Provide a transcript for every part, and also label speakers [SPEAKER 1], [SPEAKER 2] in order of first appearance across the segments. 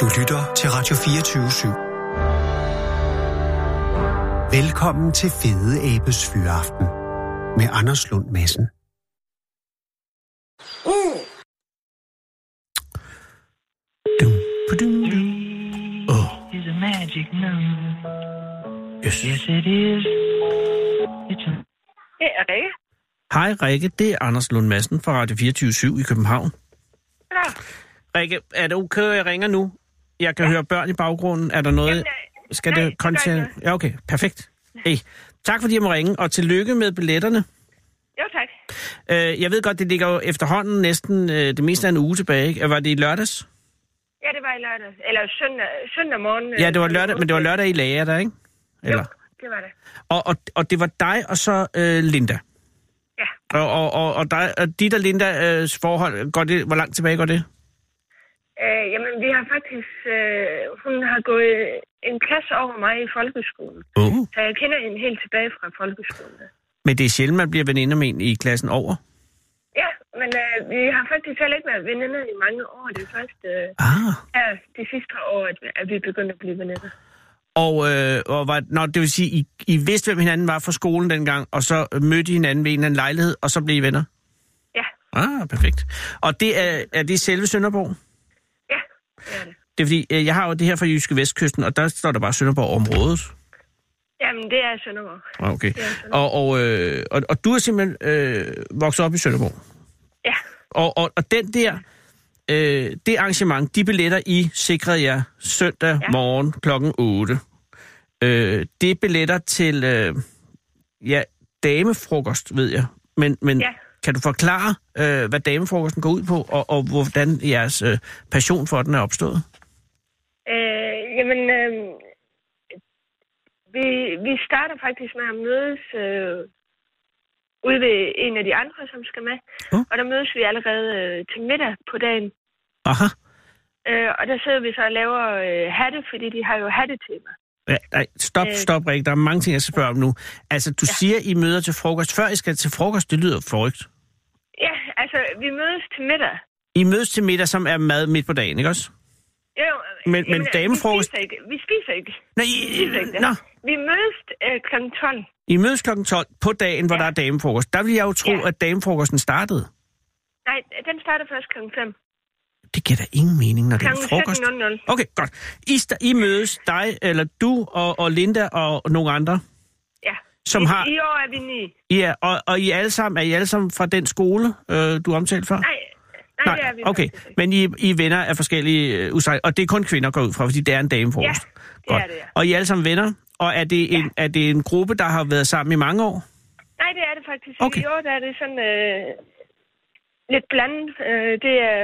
[SPEAKER 1] Du lytter til Radio 24 /7. Velkommen til Fede Abes Fyraften med Anders Lund Madsen. Mm.
[SPEAKER 2] Dum, dum, dum. Oh. Is a magic number. Yes. yes, it is. It's a...
[SPEAKER 3] Det er Rikke.
[SPEAKER 2] Hej Rikke, det er Anders Lund Madsen fra Radio 24 i København.
[SPEAKER 3] Ja.
[SPEAKER 2] Rikke, er det okay, at jeg ringer nu? Jeg kan ja. høre børn i baggrunden. Er der noget... Jamen, skal
[SPEAKER 3] nej,
[SPEAKER 2] det kontent... Ja, okay. Perfekt. Hey. Tak fordi jeg må ringe, og tillykke med billetterne.
[SPEAKER 3] Jo, tak.
[SPEAKER 2] Øh, jeg ved godt, det ligger jo efterhånden næsten øh, det meste af en uge tilbage. Ikke? Var det i lørdags?
[SPEAKER 3] Ja, det var i lørdags. Eller søndag, søndag morgen. øh,
[SPEAKER 2] Ja, det var lørdag, men det var lørdag i lager der, ikke? Eller? Jo,
[SPEAKER 3] det var det.
[SPEAKER 2] Og, og, og det var dig og så øh, Linda?
[SPEAKER 3] Ja.
[SPEAKER 2] Og, og, og, og, dig, og dit og Lindas øh, forhold, går det, hvor langt tilbage går det?
[SPEAKER 3] Øh, jamen, vi har faktisk... Øh, hun har gået en klasse over mig i folkeskolen.
[SPEAKER 2] Uh.
[SPEAKER 3] Så jeg kender hende helt tilbage fra folkeskolen.
[SPEAKER 2] Men det er sjældent, man bliver veninder med en i klassen over?
[SPEAKER 3] Ja, men øh, vi har faktisk heller ikke været veninder i mange år. Det er først øh,
[SPEAKER 2] ah.
[SPEAKER 3] her de sidste år, at, at vi begyndte at blive veninder.
[SPEAKER 2] Og, øh, og var, nå, det vil sige, I, I vidste, hvem hinanden var fra skolen dengang, og så mødte I hinanden ved en eller anden lejlighed, og så blev I venner?
[SPEAKER 3] Ja.
[SPEAKER 2] Ah, perfekt. Og det er, er det selve Sønderborg?
[SPEAKER 3] Det er, det.
[SPEAKER 2] det er fordi, øh, jeg har jo det her fra Jyske Vestkysten, og der står der bare Sønderborg-området. Ah,
[SPEAKER 3] Jamen, det er Sønderborg.
[SPEAKER 2] Okay.
[SPEAKER 3] Det er Sønderborg.
[SPEAKER 2] Og, og, øh, og, og du er simpelthen øh, vokset op i Sønderborg?
[SPEAKER 3] Ja.
[SPEAKER 2] Og, og, og den der, øh, det arrangement, de billetter, I sikrede jer søndag ja. morgen klokken 8. Øh, det er billetter til, øh, ja, damefrokost, ved jeg. Men, men
[SPEAKER 3] ja.
[SPEAKER 2] Kan du forklare, øh, hvad damefrokosten går ud på, og, og hvordan jeres øh, passion for den er opstået?
[SPEAKER 3] Øh, jamen, øh, vi, vi starter faktisk med at mødes øh, ude ved en af de andre, som skal med.
[SPEAKER 2] Uh.
[SPEAKER 3] Og der mødes vi allerede øh, til middag på dagen.
[SPEAKER 2] Aha.
[SPEAKER 3] Øh, og der sidder vi så og laver øh, hatte, fordi de har jo hattetema.
[SPEAKER 2] Ja, nej, stop,
[SPEAKER 3] Øh.
[SPEAKER 2] stop, Rik. Der er mange ting, jeg skal spørge om nu. Altså, du ja.
[SPEAKER 3] Ja.
[SPEAKER 2] siger, I møder til frokost. Før I skal til frokost, det lyder forrygt.
[SPEAKER 3] Ja, altså, vi mødes til middag.
[SPEAKER 2] I mødes til middag, som er mad midt på dagen, ikke også?
[SPEAKER 3] Jo, jo,
[SPEAKER 2] Men- men
[SPEAKER 3] øh, Vi
[SPEAKER 2] damefrokost-
[SPEAKER 3] spiser ikke. Vi spiser ikke.
[SPEAKER 2] Nej, I,
[SPEAKER 3] Vi spiser ikke.
[SPEAKER 2] nå.
[SPEAKER 3] Vi mødes øh, kl. 12.
[SPEAKER 2] I mødes kl. 12 på dagen, hvor ja.
[SPEAKER 3] Ja.
[SPEAKER 2] der er damefrokost. Der vil jeg jo tro, ja.
[SPEAKER 3] Ja.
[SPEAKER 2] at damefrokosten startede.
[SPEAKER 3] Nej, den starter først kl. 5.
[SPEAKER 2] Det giver da ingen mening, når det
[SPEAKER 3] Kl.
[SPEAKER 2] er en frokost.
[SPEAKER 3] 17.00.
[SPEAKER 2] Okay, godt. I, sta- I mødes, dig, eller du og, og Linda og nogle andre.
[SPEAKER 3] Ja.
[SPEAKER 2] Som
[SPEAKER 3] I,
[SPEAKER 2] har-
[SPEAKER 3] I år er vi ni.
[SPEAKER 2] Ja, og, og I er alle sammen, er I alle sammen fra den skole, øh, du omtalte før?
[SPEAKER 3] Nej, nej, det er vi
[SPEAKER 2] okay.
[SPEAKER 3] faktisk ikke.
[SPEAKER 2] Men I, I er venner af forskellige øh, udsejl, og det er kun kvinder, går jeg ud fra, fordi det er en damefrokost.
[SPEAKER 3] Ja, det
[SPEAKER 2] Godt.
[SPEAKER 3] er det, ja.
[SPEAKER 2] Og I er alle sammen venner, og er det, en, er det en gruppe, der har været sammen i mange år?
[SPEAKER 3] Nej, det er det faktisk.
[SPEAKER 2] Okay.
[SPEAKER 3] Okay. I år der er det sådan øh, lidt blandet. Øh, det er...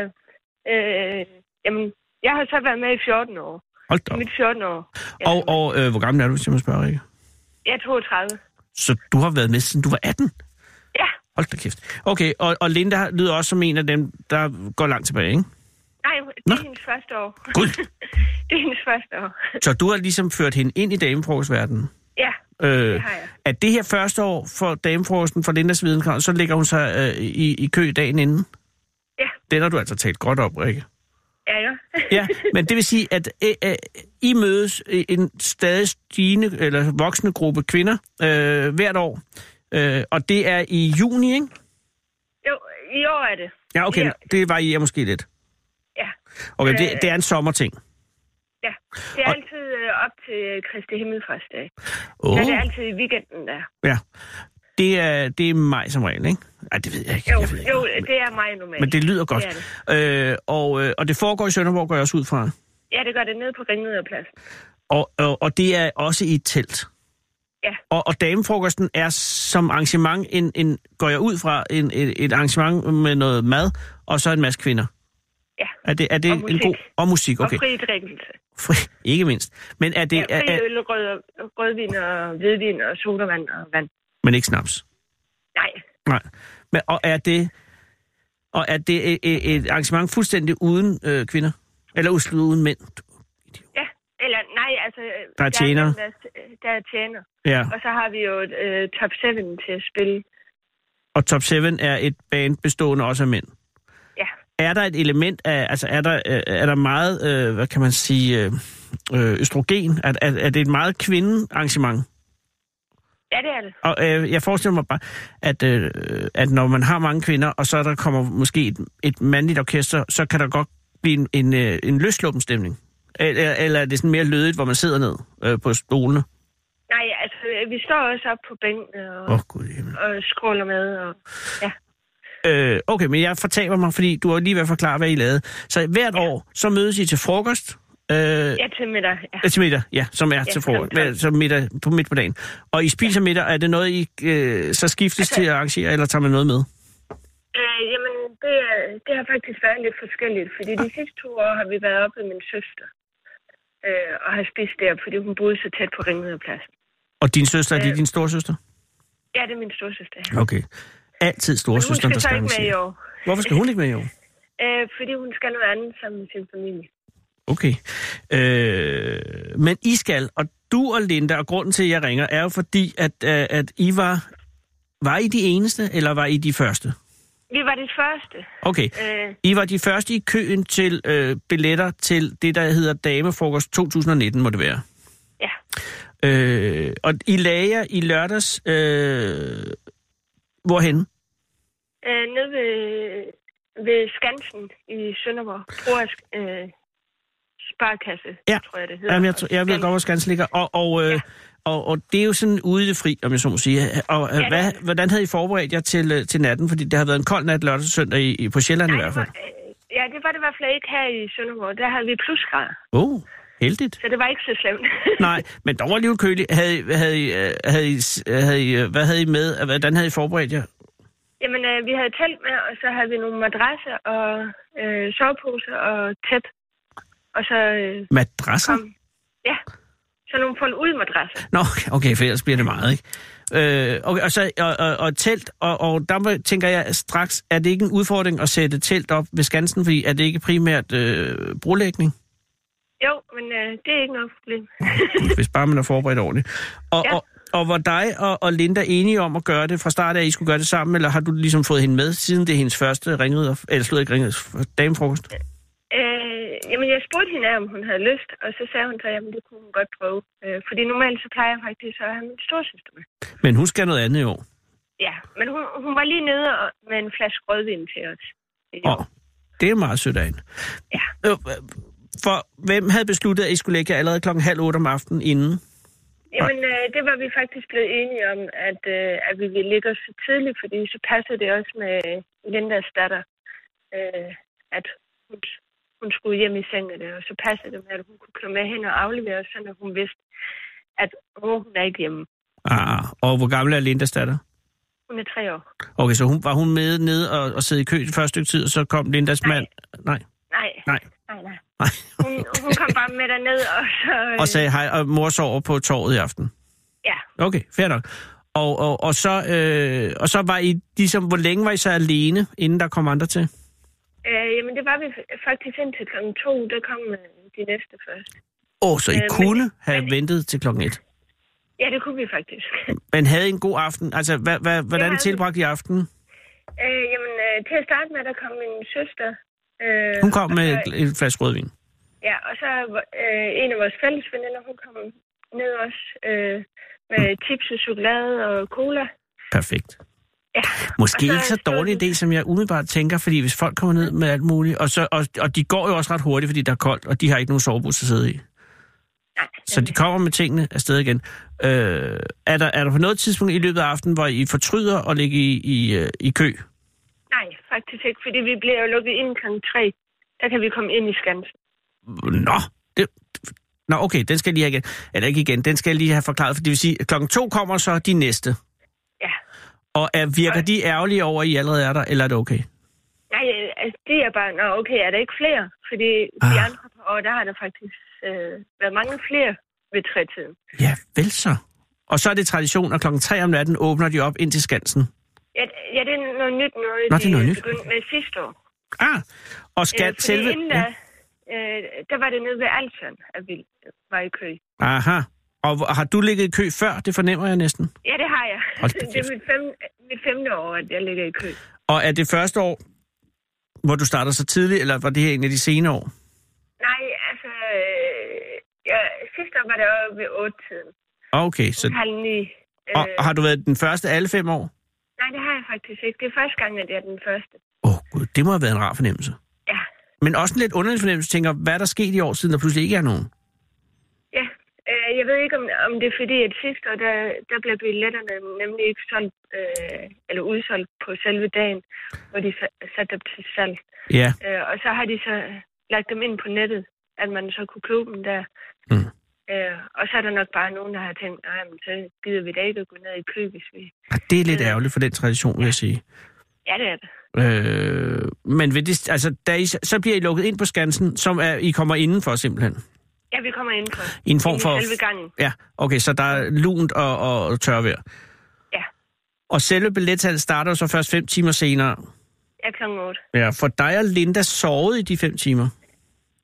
[SPEAKER 3] Øh, jamen, jeg har så været med i 14 år.
[SPEAKER 2] Hold da
[SPEAKER 3] Ja.
[SPEAKER 2] op.
[SPEAKER 3] Mit 14 år. Jeg
[SPEAKER 2] Og, og øh, hvor gammel er du, hvis jeg må spørge, Rikke?
[SPEAKER 3] Jeg er 32.
[SPEAKER 2] Så du har været med, siden du var 18?
[SPEAKER 3] Ja.
[SPEAKER 2] Hold da kæft. Okay, og, og Linda lyder også som en af dem, der går langt tilbage, ikke?
[SPEAKER 3] Nej, det
[SPEAKER 2] Nå.
[SPEAKER 3] er hendes første år.
[SPEAKER 2] Gud.
[SPEAKER 3] det er hendes første år.
[SPEAKER 2] Så du har ligesom ført hende ind i damefrokostverdenen?
[SPEAKER 3] ja.
[SPEAKER 2] Øh,
[SPEAKER 3] har jeg.
[SPEAKER 2] at det her første år for damefrokosten for Lindas videnskab, så ligger hun sig øh, i, i kø dagen inden.
[SPEAKER 3] Ja.
[SPEAKER 2] Den har du altså talt godt op, Rikke.
[SPEAKER 3] Ja, ja.
[SPEAKER 2] Ja, men det vil sige, at øh, øh, I mødes i en stadig stigende eller voksende gruppe kvinder øh, hvert år. Øh, og det er i juni, ikke?
[SPEAKER 3] jo, i år er det.
[SPEAKER 2] Ja, okay.
[SPEAKER 3] Ja.
[SPEAKER 2] Det var I måske lidt.
[SPEAKER 3] Ja.
[SPEAKER 2] Okay, det,
[SPEAKER 3] Øh.
[SPEAKER 2] det er en sommerting.
[SPEAKER 3] Ja. Det er
[SPEAKER 2] Og-
[SPEAKER 3] altid øh, op til Kristi Himmelfartsdag.
[SPEAKER 2] Åh,
[SPEAKER 3] Oh.
[SPEAKER 2] oh,
[SPEAKER 3] Ja, det er altid i weekenden der.
[SPEAKER 2] ja. Det er, det er maj som regel, ikke? Ej, det ved jeg ikke.
[SPEAKER 3] Jo,
[SPEAKER 2] jeg ved ikke.
[SPEAKER 3] jo det er mig normalt.
[SPEAKER 2] Men det lyder godt.
[SPEAKER 3] Det
[SPEAKER 2] Øh, og, øh, og det foregår i Sønderborg, går jeg også ud fra.
[SPEAKER 3] Ja, det gør det nede på Ringnederpladsen.
[SPEAKER 2] Og, og, og det er også i et telt.
[SPEAKER 3] Ja.
[SPEAKER 2] Og, og damefrokosten er som arrangement, en, en, går jeg ud fra, en, et, et arrangement med noget mad, og så en masse kvinder.
[SPEAKER 3] Ja.
[SPEAKER 2] Er det, er det
[SPEAKER 3] Og
[SPEAKER 2] en
[SPEAKER 3] musik.
[SPEAKER 2] god... Og musik, okay.
[SPEAKER 3] Og fri drikkelse.
[SPEAKER 2] Fri, ikke mindst. Men er det...
[SPEAKER 3] Ja,
[SPEAKER 2] er,
[SPEAKER 3] fri
[SPEAKER 2] er,
[SPEAKER 3] øl, rød, rødvin og hvidvin og sodavand og vand.
[SPEAKER 2] men ikke snaps.
[SPEAKER 3] Nej,
[SPEAKER 2] Nej. Men, og er det... Og er det et, et- et arrangement fuldstændig uden øh, kvinder? Eller uslet uden mænd?
[SPEAKER 3] ja. Eller nej, altså...
[SPEAKER 2] Der er tjenere.
[SPEAKER 3] Der, er- øh, der er tjener.
[SPEAKER 2] Ja.
[SPEAKER 3] Og så har vi jo et, øh, top 7 til at spille.
[SPEAKER 2] Og Top 7 er et band bestående også af mænd.
[SPEAKER 3] Ja,
[SPEAKER 2] er der et element af, altså er der, øh, er der meget, øh, hvad kan man sige, øh, øh, østrogen? Er, er, er det et meget kvindearrangement?
[SPEAKER 3] Ja, det er det.
[SPEAKER 2] Og øh, jeg forestiller mig bare, at, øh, at når man har mange kvinder, og så der kommer måske et, et mandligt orkester, så kan der godt blive en, en, øh, en løsluppen stemning. Eller, eller er det sådan mere lødigt, hvor man sidder ned øh, på stolene?
[SPEAKER 3] Nej, altså, øh, vi står også op på bænken og,
[SPEAKER 2] Åh, oh, gud i himmel.
[SPEAKER 3] og skråler med. Og,
[SPEAKER 2] Øh, okay, men jeg fortaber mig, fordi du har lige ved at forklare, hvad I lavede. Så hvert år, så mødes I til frokost. Øh, ja.
[SPEAKER 3] ja, til middag. Ja.
[SPEAKER 2] Til middag, ja, som er ja, til
[SPEAKER 3] som
[SPEAKER 2] frokost.
[SPEAKER 3] tak.
[SPEAKER 2] Hvad- Som middag på midt på dagen. Og I spiser middag, er det noget, I øh, så skiftes til at arrangere, eller tager man noget med?
[SPEAKER 3] Øh, jamen, det, er- det har faktisk været lidt forskelligt, fordi de sidste to år har vi været oppe med min søster øh, og har spist der, fordi hun boede så tæt på Ringmødepladsen.
[SPEAKER 2] Og din søster, er det
[SPEAKER 3] Øh.
[SPEAKER 2] din storsøster?
[SPEAKER 3] Ja, det er min storsøster.
[SPEAKER 2] Okay.
[SPEAKER 3] Men
[SPEAKER 2] Altid
[SPEAKER 3] hun
[SPEAKER 2] storsøsteren,
[SPEAKER 3] skal
[SPEAKER 2] der
[SPEAKER 3] så ikke
[SPEAKER 2] skal
[SPEAKER 3] med i
[SPEAKER 2] arrangere.
[SPEAKER 3] år,
[SPEAKER 2] Hvorfor skal hun ikke med i år?
[SPEAKER 3] øh, fordi hun skal noget andet sammen med sin familie.
[SPEAKER 2] Okay. Øh, men I skal, og du og Linda, og grunden til, at jeg ringer, er jo fordi, at, øh, at I var... Var I de eneste, eller var I de første?
[SPEAKER 3] Vi var det første.
[SPEAKER 2] Okay.
[SPEAKER 3] Øh,
[SPEAKER 2] I var de første i køen til øh, billetter til det, der hedder Damefrokost 2019, må det være.
[SPEAKER 3] ja,
[SPEAKER 2] Øh, og I lagde jer i lørdags... Øh, hvorhen?
[SPEAKER 3] øh, nede ved, ved Skansen i Sønderborg. Brugers, øh, sparkasse,
[SPEAKER 2] Ja.
[SPEAKER 3] tror jeg, det hedder.
[SPEAKER 2] Jamen, jeg, tr- jeg ved godt, hvor Skansen ligger. Og, og, øh, og, og det er jo sådan ude i det fri, om jeg så må sige. Og øh,
[SPEAKER 3] det er
[SPEAKER 2] hvad,
[SPEAKER 3] det.
[SPEAKER 2] hvordan havde I forberedt jer til, øh, til natten? Fordi det har været en kold nat lørdag og søndag i, i, på Sjælland
[SPEAKER 3] Nej,
[SPEAKER 2] i hvert fald.
[SPEAKER 3] det var- øh, Ja, det var det i hvert fald ikke her i Sønderborg. Der havde vi plusgrader,
[SPEAKER 2] Åh, oh, heldigt.
[SPEAKER 3] så det var ikke så slemt.
[SPEAKER 2] Nej, men dog var alligevel køligt. Havde, I- havde, I, øh, havde, I, s- øh, havde, I, øh, hvad havde I med? og Hvordan havde I forberedt jer?
[SPEAKER 3] Jamen, øh, vi havde telt med, og så havde vi nogle madrasser og øh, soveposer og tæp. Og så øh,
[SPEAKER 2] Madrasser?
[SPEAKER 3] kom... Ja, så nogle fold ud madrasser.
[SPEAKER 2] Nå, okay, for ellers bliver det meget, ikke? Øh, okay, og, så, og, og, og telt, og, og der må- tænker jeg straks, er det ikke en udfordring at sætte telt op ved Skansen, fordi er det ikke primært øh, brolægning?
[SPEAKER 3] Jo, men øh, det er ikke noget problem.
[SPEAKER 2] hvis bare man er forberedt ordentligt. Og, ja.
[SPEAKER 3] Ja.
[SPEAKER 2] og, og var dig og, og Linda enige om at gøre det fra start af, at I skulle gøre det sammen, eller har du ligesom fået hende med, siden det er hendes første ringrider, eller slet ikke ringrider, damefrokost?
[SPEAKER 3] Øh, jamen, jeg spurgte hende, om hun havde lyst, og så sagde hun så, jamen, det kunne hun godt prøve. Øh, fordi normalt så plejer jeg faktisk at have min storsøster med.
[SPEAKER 2] Men hun skal noget andet i år.
[SPEAKER 3] Ja, men hun, hun var lige nede og, med en flaske rødvin til os.
[SPEAKER 2] Ja. Og det er meget sødt af hende. Ja. For hvem havde besluttet, at I skulle lægge jer allerede klokken halv otte om aftenen inden?
[SPEAKER 3] Jamen, øh, det var vi faktisk blevet enige om, at, øh, at vi ville ligge os så tidligt, fordi så passer det også med Lindas datter, øh, at hun, hun skulle hjem i sengen, der, og så passede det med, at hun kunne komme med hen og aflevere os, sådan at hun vidste, at åh, hun er ikke hjemme.
[SPEAKER 2] Ah, og hvor gammel er Lindas datter?
[SPEAKER 3] Hun er tre år.
[SPEAKER 2] Okay, så hun, var hun med nede og, og sidde i kø det første stykke tid, og så kom Lindas
[SPEAKER 3] Nej.
[SPEAKER 2] mand? Nej.
[SPEAKER 3] Nej,
[SPEAKER 2] Nej.
[SPEAKER 3] nej, nej.
[SPEAKER 2] Nej.
[SPEAKER 3] Hun, hun kom bare med derned, og så... Øh,
[SPEAKER 2] og sagde hej, og mor sover på torvet i aften?
[SPEAKER 3] ja,
[SPEAKER 2] Okay, fair nok. Og, og, og, så, øh, og så var I ligesom, hvor længe var I så alene, inden der kom andre til?
[SPEAKER 3] øh, jamen det var vi f- faktisk indtil klokken to, der kom øh, de næste først.
[SPEAKER 2] Åh, oh, så I
[SPEAKER 3] Øh, men-
[SPEAKER 2] kunne have
[SPEAKER 3] men-
[SPEAKER 2] ventet til klokken et.
[SPEAKER 3] Ja, det kunne vi faktisk.
[SPEAKER 2] Men havde I en god aften? Altså, hva, hva, hvordan
[SPEAKER 3] havde vi.
[SPEAKER 2] tilbragte I aftenen?
[SPEAKER 3] Øh, jamen, øh, til at starte med, der kom min søster. Øh,
[SPEAKER 2] Hun kom
[SPEAKER 3] og
[SPEAKER 2] med
[SPEAKER 3] Så,
[SPEAKER 2] et flaske rødvin.
[SPEAKER 3] ja, og så øh, en af vores fælles veninder, hun kom ned også øh, med
[SPEAKER 2] Hm.
[SPEAKER 3] chips og chokolade og cola.
[SPEAKER 2] Perfekt.
[SPEAKER 3] Ja,
[SPEAKER 2] Måske
[SPEAKER 3] og så
[SPEAKER 2] ikke så
[SPEAKER 3] stod
[SPEAKER 2] dårlig
[SPEAKER 3] vi-
[SPEAKER 2] idé, som jeg umiddelbart tænker, fordi hvis folk kommer ned med alt muligt, og, så, og, og de går jo også ret hurtigt, fordi der er koldt, og de har ikke nogen sovebus at sidde i. Så de kommer med tingene afsted igen. Øh, er, der, er der på noget tidspunkt i løbet af aftenen, hvor I fortryder at ligge i, i, øh, i kø?
[SPEAKER 3] Nej, faktisk ikke, fordi vi bliver jo lukket ind kl. 3. Der kan vi komme ind i Skansen.
[SPEAKER 2] Nå, det, nå okay, den skal jeg lige have igen. Eller ikke igen, den skal jeg lige have forklaret. For det vil sige, at klokken to kommer så de næste.
[SPEAKER 3] Ja.
[SPEAKER 2] Og er, virker
[SPEAKER 3] Nej.
[SPEAKER 2] de ærgerlige over, at I allerede er der, eller er det okay?
[SPEAKER 3] Nej, øh, altså, det er bare, nå okay, er der ikke flere? Fordi de
[SPEAKER 2] Ah.
[SPEAKER 3] andre par år, der har der faktisk øh, været mange flere ved trætiden.
[SPEAKER 2] Ja, vel så. Og så er det tradition, at klokken tre om natten åbner de op ind til Skansen.
[SPEAKER 3] Ja, d- ja, det er noget nyt, noget,
[SPEAKER 2] Nå, det er noget
[SPEAKER 3] de
[SPEAKER 2] nyt.
[SPEAKER 3] begyndte med sidste år.
[SPEAKER 2] Ah, og
[SPEAKER 3] Øh,
[SPEAKER 2] skal
[SPEAKER 3] fordi
[SPEAKER 2] selve...
[SPEAKER 3] Inden da,
[SPEAKER 2] Ja.
[SPEAKER 3] øh, der var det nede ved Altsjøen, at vi var i kø.
[SPEAKER 2] Aha. Og hvor- har du ligget i kø før? Det fornemmer jeg næsten.
[SPEAKER 3] Ja, det har jeg.
[SPEAKER 2] Hold da
[SPEAKER 3] det er mit, fem, mit femte år, at jeg ligger i kø.
[SPEAKER 2] Og er det første år, Hvor du starter så tidligt, eller var det her en af de senere år?
[SPEAKER 3] Nej, altså... Øh, ja, sidste år var det jo ved 8-tiden.
[SPEAKER 2] Okay,
[SPEAKER 3] Så...
[SPEAKER 2] så, Ah,
[SPEAKER 3] Halv ni. Øh,
[SPEAKER 2] og, og har du været den første alle fem år?
[SPEAKER 3] Nej, det har jeg faktisk ikke. Det er første gang, at jeg er den første.
[SPEAKER 2] Åh oh, gud, det må have været en rar fornemmelse.
[SPEAKER 3] Ja.
[SPEAKER 2] Men også en lidt underlig fornemmelse, Du tænker, hvad er der sket i år, siden der pludselig ikke er nogen?
[SPEAKER 3] Ja, øh, jeg ved ikke, om, om det er fordi, at sidste år, der, der blev billetterne nemlig ikke solgt, øh, eller udsolgt på selve dagen, hvor de sa- satte dem til salg.
[SPEAKER 2] Ja,
[SPEAKER 3] Øh, og så har de så lagt dem ind på nettet, at man så kunne købe dem der.
[SPEAKER 2] Mm.
[SPEAKER 3] Øh, og så er der nok bare nogen, der har tænkt, nej, men så gider vi da ikke at gå ned i kø, hvis vi...
[SPEAKER 2] Ah, det er lidt ærgerligt for den tradition, vil jeg sige.
[SPEAKER 3] Ja, det er det.
[SPEAKER 2] Øh, men ved det, altså, da I, så bliver I lukket ind på skansen, som er, I kommer indenfor simpelthen.
[SPEAKER 3] Ja, vi kommer indenfor.
[SPEAKER 2] I en form
[SPEAKER 3] Inde i
[SPEAKER 2] for...
[SPEAKER 3] selve gangen.
[SPEAKER 2] Ja, okay, så der er lunt og, og tørvejr.
[SPEAKER 3] Ja.
[SPEAKER 2] Og selve billettallet starter jo så først fem timer senere.
[SPEAKER 3] Ja, kl. 8.
[SPEAKER 2] Ja, for dig og Linda sovet i de fem timer.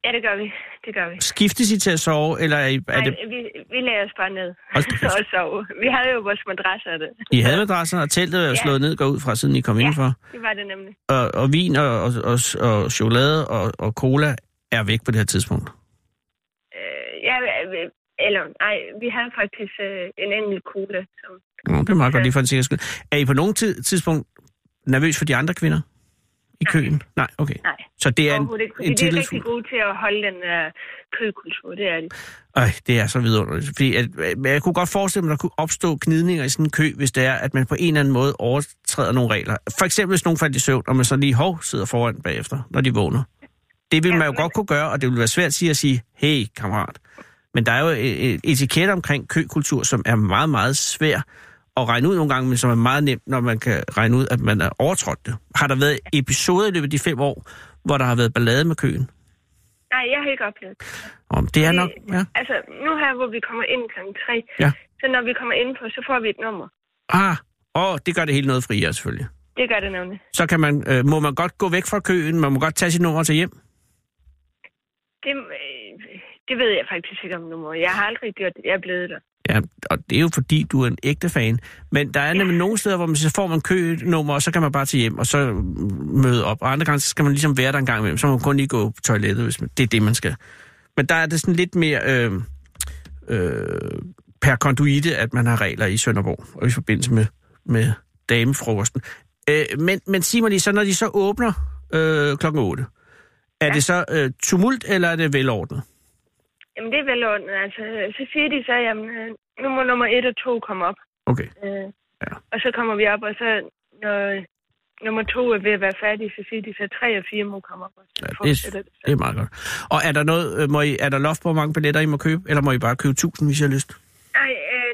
[SPEAKER 3] Ja, det gør vi. Det gør vi.
[SPEAKER 2] Skiftes I til at sove, eller er, I, er
[SPEAKER 3] Nej,
[SPEAKER 2] det...
[SPEAKER 3] vi, vi lagde os bare ned
[SPEAKER 2] Hold da kæft.
[SPEAKER 3] og sov. Vi havde jo vores madrasser og det.
[SPEAKER 2] I havde adressen, og teltet er jo
[SPEAKER 3] Ja.
[SPEAKER 2] slået ned, går ud fra, siden I kom
[SPEAKER 3] Ja.
[SPEAKER 2] indenfor.
[SPEAKER 3] Det var det nemlig.
[SPEAKER 2] Og, og vin og, og, og, og chokolade og, og cola er væk på det her tidspunkt.
[SPEAKER 3] Øh, ja, øh, eller nej, vi havde faktisk øh, en enkelt cola. Som,
[SPEAKER 2] Nå, det er meget godt
[SPEAKER 3] Mm. Ja.
[SPEAKER 2] lige for en sikkerheds skyld. Er I på nogen tid, tidspunkt nervøs for de andre kvinder i køen? Nej, okay.
[SPEAKER 3] nej,
[SPEAKER 2] Så det er en,
[SPEAKER 3] overhovedet ikke. Fordi
[SPEAKER 2] en
[SPEAKER 3] de er rigtig
[SPEAKER 2] tillidsfuld...
[SPEAKER 3] gode til at holde den øh, køkultur, det er de.
[SPEAKER 2] Øj, det er så vidunderligt. Fordi at, men jeg kunne godt forestille mig, at der kunne opstå knidninger i sådan en kø, hvis det er, at man på en eller anden måde overtræder nogle regler. For eksempel, hvis nogen faldt i søvn, og man så lige hov sidder foran bagefter, når de vågner. Det vil
[SPEAKER 3] Ja,
[SPEAKER 2] man jo
[SPEAKER 3] men-
[SPEAKER 2] godt kunne gøre, og det vil være svært at sige, at sige hey, kammerat. Men der er jo et et etiket omkring køkultur, som er meget, meget svær at regne ud nogle gange, men som er meget nemt, når man kan regne ud, at man er overtrådt det. Har der været episoder i løbet af de fem år, hvor der har været ballade med køen?
[SPEAKER 3] Nej, jeg har ikke oplevet det.
[SPEAKER 2] Om det er nok... Ja.
[SPEAKER 3] Altså, nu her, hvor vi kommer ind kl. 3,
[SPEAKER 2] Ja.
[SPEAKER 3] så når vi kommer ind på, så får vi et nummer.
[SPEAKER 2] Ah, åh, det gør det hele noget friere selvfølgelig.
[SPEAKER 3] Det gør det nemlig.
[SPEAKER 2] Så kan man, øh, må man godt gå væk fra køen, man må godt tage sit nummer til hjem.
[SPEAKER 3] Det, øh, det ved jeg faktisk ikke om nummer. Jeg har aldrig gjort det. Jeg er blevet der.
[SPEAKER 2] Ja, og det er jo fordi, du er en ægte fan. Men der er nemlig nogle steder, hvor man så får man kønummer, og så kan man bare til hjem, og så møde op. Og andre gange, så skal man ligesom være der en gang imellem. Så må man kun lige gå på toilettet, hvis man, det er det, man skal. Men der er det sådan lidt mere øh, øh, per konduite, at man har regler i Sønderborg, og i forbindelse med, med damefrokosten. Øh, men, men sig mig lige, så når de så åbner øh, klokken 8, er ja. det så øh, tumult, eller er det velordnet?
[SPEAKER 3] Jamen, det er velordnet. Altså, så siger de så, jamen, øh, nu må nummer 1 og 2 komme op.
[SPEAKER 2] Okay.
[SPEAKER 3] Øh,
[SPEAKER 2] Ja.
[SPEAKER 3] ja. Og så kommer vi op, og så når nummer 2 er ved at være færdig, så siger de så 3 og 4 må komme op. Og så
[SPEAKER 2] Ja, det-
[SPEAKER 3] fortsætter det,
[SPEAKER 2] Det er meget godt. Og er der, noget, øh, må I, er der loft på, hvor mange billetter I må købe? Eller må I bare købe 1000, hvis I har lyst?
[SPEAKER 3] Nej, øh,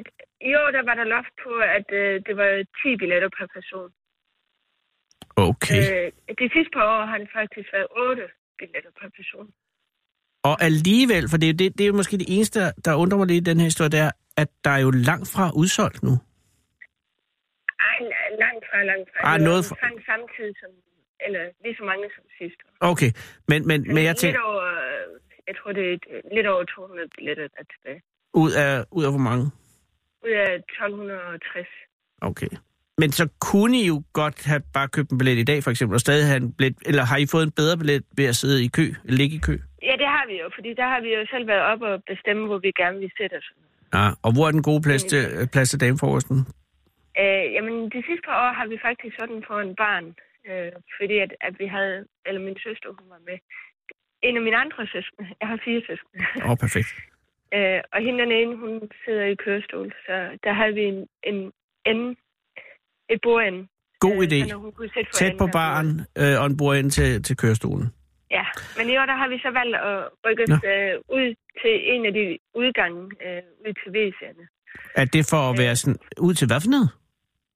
[SPEAKER 3] jo, der var der loft på, at øh, det var 10 billetter per person.
[SPEAKER 2] Okay. Øh.
[SPEAKER 3] Øh, de sidste par år har det faktisk været 8 billetter per person.
[SPEAKER 2] Og alligevel, for det, er jo det, det er jo måske det eneste, der- der undrer mig lidt i den her historie, det er, at der er jo langt fra udsolgt nu.
[SPEAKER 3] Ej, la- langt fra, langt fra.
[SPEAKER 2] Ej,
[SPEAKER 3] Det var
[SPEAKER 2] noget fra-
[SPEAKER 3] omkring samtidig som, eller lige så mange som sidst. år.
[SPEAKER 2] Okay, men, men, men jeg tænker,
[SPEAKER 3] Lidt over, øh, jeg tror det er et, lidt over 200 billetter, der er tilbage.
[SPEAKER 2] ud af, ud af hvor mange?
[SPEAKER 3] Ud af 1260.
[SPEAKER 2] Okay. Men så kunne I jo godt have bare købt en billet i dag, for eksempel, og stadig have en billet, eller har I fået en bedre billet ved at sidde i kø, ligge i kø?
[SPEAKER 3] Ja, det har vi jo, fordi der har vi jo selv været oppe og bestemme, hvor vi gerne vil sætte os.
[SPEAKER 2] Ja, og hvor er den gode plads til, øh, plads til dameforresten?
[SPEAKER 3] Øh, jamen, de sidste par år har vi faktisk sådan for en barn, øh, fordi at, at vi havde, eller min søster, hun var med. En af mine andre søskende, jeg har fire søskende,
[SPEAKER 2] Åh, oh, perfekt.
[SPEAKER 3] øh, og hende den ene, hun sidder i kørestol, så der havde vi en, en ende, et bordende.
[SPEAKER 2] God
[SPEAKER 3] øh,
[SPEAKER 2] idé.
[SPEAKER 3] så når hun kunne sætte for
[SPEAKER 2] Tæt
[SPEAKER 3] enden
[SPEAKER 2] på
[SPEAKER 3] af bordet.
[SPEAKER 2] baren øh, og en bord ind til, til kørestolen.
[SPEAKER 3] Ja, men i år der har vi så valgt at rykke os øh, ud til en af de udgange, øh, ud til WC'erne.
[SPEAKER 2] Er det for at være sådan, ud til hvad for noget?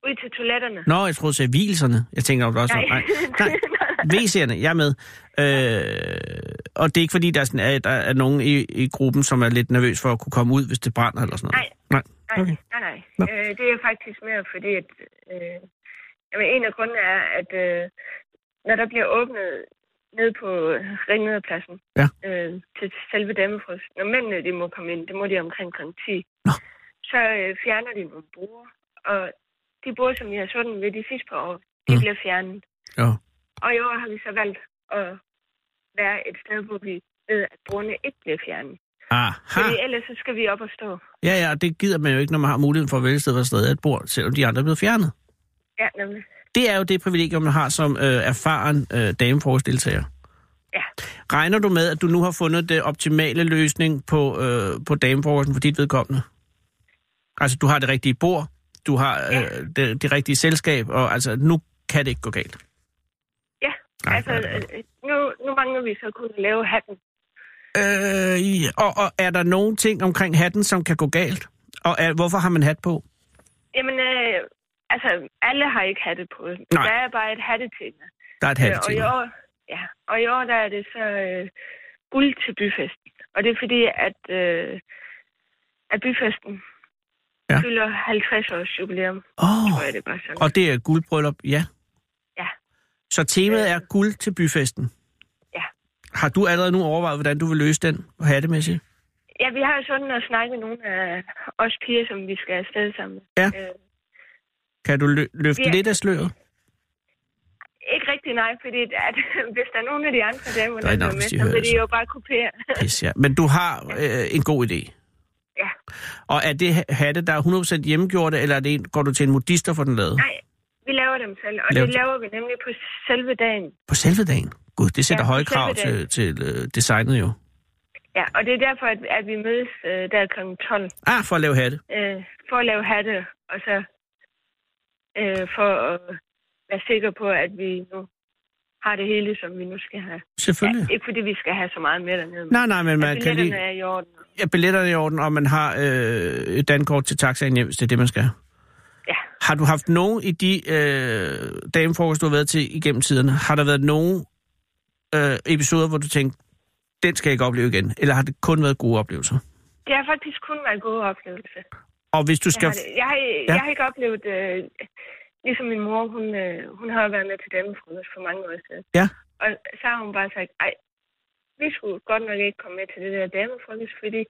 [SPEAKER 3] Ud til toiletterne.
[SPEAKER 2] Nå, jeg troede, du sagde hvilelserne. Jeg tænker, om der også var-
[SPEAKER 3] Nej.
[SPEAKER 2] Altså, Nej, VC'erne, jeg er med. Øh, og det er ikke fordi, der er, sådan, er, der er nogen i, i gruppen, som er lidt nervøs for at kunne komme ud, hvis det brænder eller sådan noget. Nej.
[SPEAKER 3] Nej,
[SPEAKER 2] Okay.
[SPEAKER 3] nej, nej.
[SPEAKER 2] Nå.
[SPEAKER 3] Øh, det er faktisk mere fordi, at øh, jamen, en af grundene er, at øh, når der bliver åbnet ned på Ringmederpladsen
[SPEAKER 2] Ja.
[SPEAKER 3] øh, til selve damefrost, når mændene de må komme ind, det må de omkring kl. 10,
[SPEAKER 2] Nå.
[SPEAKER 3] så øh, fjerner de nogle bruger, og de bruger, som vi har sådan ved de sidste par år, de
[SPEAKER 2] Mm.
[SPEAKER 3] bliver fjernet.
[SPEAKER 2] Jo.
[SPEAKER 3] Og i år har vi så valgt at være et sted, hvor vi ved, at brugerne ikke bliver fjernet.
[SPEAKER 2] Aha.
[SPEAKER 3] Fordi ellers så skal vi op og stå.
[SPEAKER 2] Ja, ja, og det gider man jo ikke, når man har muligheden for at vælge et sted, hvor der stadig er et bord, selvom de andre er blevet fjernet.
[SPEAKER 3] Ja, nemlig.
[SPEAKER 2] Det er jo det privilegium, man har som øh, erfaren øh, dameforårsdeltager.
[SPEAKER 3] Ja.
[SPEAKER 2] Regner du med, at du nu har fundet det optimale løsning på, øh, på dameforholden for dit vedkommende? Altså, du har det rigtige bord, du har øh,
[SPEAKER 3] Ja.
[SPEAKER 2] det, det rigtige selskab, og altså, nu kan det ikke gå galt.
[SPEAKER 3] Ja,
[SPEAKER 2] Nej,
[SPEAKER 3] altså,
[SPEAKER 2] nej, nej.
[SPEAKER 3] øh, nu, nu mangler vi så kun at lave hatten.
[SPEAKER 2] Øh, ja, og, og er der nogen ting omkring hatten, som kan gå galt? Og er, hvorfor har man hat på?
[SPEAKER 3] Jamen, øh, altså, alle har ikke hatte på.
[SPEAKER 2] Nej.
[SPEAKER 3] Der er bare et hattetema.
[SPEAKER 2] Der er et
[SPEAKER 3] Øh,
[SPEAKER 2] hat
[SPEAKER 3] og
[SPEAKER 2] til.
[SPEAKER 3] i år, ja, og i år der er det så øh, guld til byfesten. Og det er fordi, at, øh, at byfesten
[SPEAKER 2] Ja.
[SPEAKER 3] ja. fylder 50 års jubilæum,
[SPEAKER 2] Åh,
[SPEAKER 3] tror jeg det var sådan.
[SPEAKER 2] og det er guldbryllup, ja.
[SPEAKER 3] Ja. Øh.
[SPEAKER 2] Så temaet er guld til byfesten?
[SPEAKER 3] Ja.
[SPEAKER 2] Har du allerede nu overvejet, hvordan du vil løse den hattemæssigt?
[SPEAKER 3] Ja, vi har jo sådan at snakke med nogle af os piger, som vi skal afsted sammen med.
[SPEAKER 2] Ja.
[SPEAKER 3] Øh,
[SPEAKER 2] Kan du lø- løfte
[SPEAKER 3] Ja.
[SPEAKER 2] lidt af sløret?
[SPEAKER 3] ikke rigtig nej, fordi at, hvis der er nogen af de andre damer,
[SPEAKER 2] Der er
[SPEAKER 3] der
[SPEAKER 2] ikke
[SPEAKER 3] er
[SPEAKER 2] nok,
[SPEAKER 3] med,
[SPEAKER 2] hvis de
[SPEAKER 3] så
[SPEAKER 2] hører
[SPEAKER 3] vil
[SPEAKER 2] det,
[SPEAKER 3] de jo bare kopiere.
[SPEAKER 2] Pis, ja. Men du har øh, en god idé.
[SPEAKER 3] ja.
[SPEAKER 2] Og er det ha- hatte, der er 100% hjemmegjorte, eller er det en, går du til en modister for den lavet?
[SPEAKER 3] Nej, vi laver dem selv, og
[SPEAKER 2] Laver
[SPEAKER 3] det
[SPEAKER 2] dem-
[SPEAKER 3] laver vi nemlig på selve dagen.
[SPEAKER 2] På selve dagen? Gud, det sætter
[SPEAKER 3] Ja, på
[SPEAKER 2] høje krav
[SPEAKER 3] selve
[SPEAKER 2] til, til øh, designet jo.
[SPEAKER 3] Ja, og det er derfor, at, at vi mødes øh, der kl. 12
[SPEAKER 2] Ah, for at lave hatte.
[SPEAKER 3] øh, for at lave hatte, og så øh, for at være sikre på, at vi nu har det hele, som vi nu skal have.
[SPEAKER 2] Selvfølgelig.
[SPEAKER 3] Ja, ikke fordi vi skal have så meget mere dernede. men
[SPEAKER 2] Nej, nej, men man
[SPEAKER 3] at
[SPEAKER 2] kan
[SPEAKER 3] billetterne
[SPEAKER 2] lige...
[SPEAKER 3] er i orden.
[SPEAKER 2] Ja, billetterne er i orden, og man har øh, et dankort til taxaen hjem, hvis det er det, man skal.
[SPEAKER 3] Ja.
[SPEAKER 2] Har du haft nogen i de øh, damefrokost, du har været til igennem tiderne, har der været nogen øh, episoder, hvor du tænkte, den skal jeg ikke opleve igen? Eller har det kun været gode oplevelser?
[SPEAKER 3] Det har faktisk kun været en god oplevelse.
[SPEAKER 2] Og hvis du
[SPEAKER 3] Jeg
[SPEAKER 2] skal...
[SPEAKER 3] har, det- jeg, har, jeg har ikke oplevet, øh, ligesom min mor, hun, øh, hun har været med til damefrokost for mange år siden.
[SPEAKER 2] Ja.
[SPEAKER 3] Og så har hun bare sagt, ej, vi skulle godt nok ikke komme med til det der damefrokost, fordi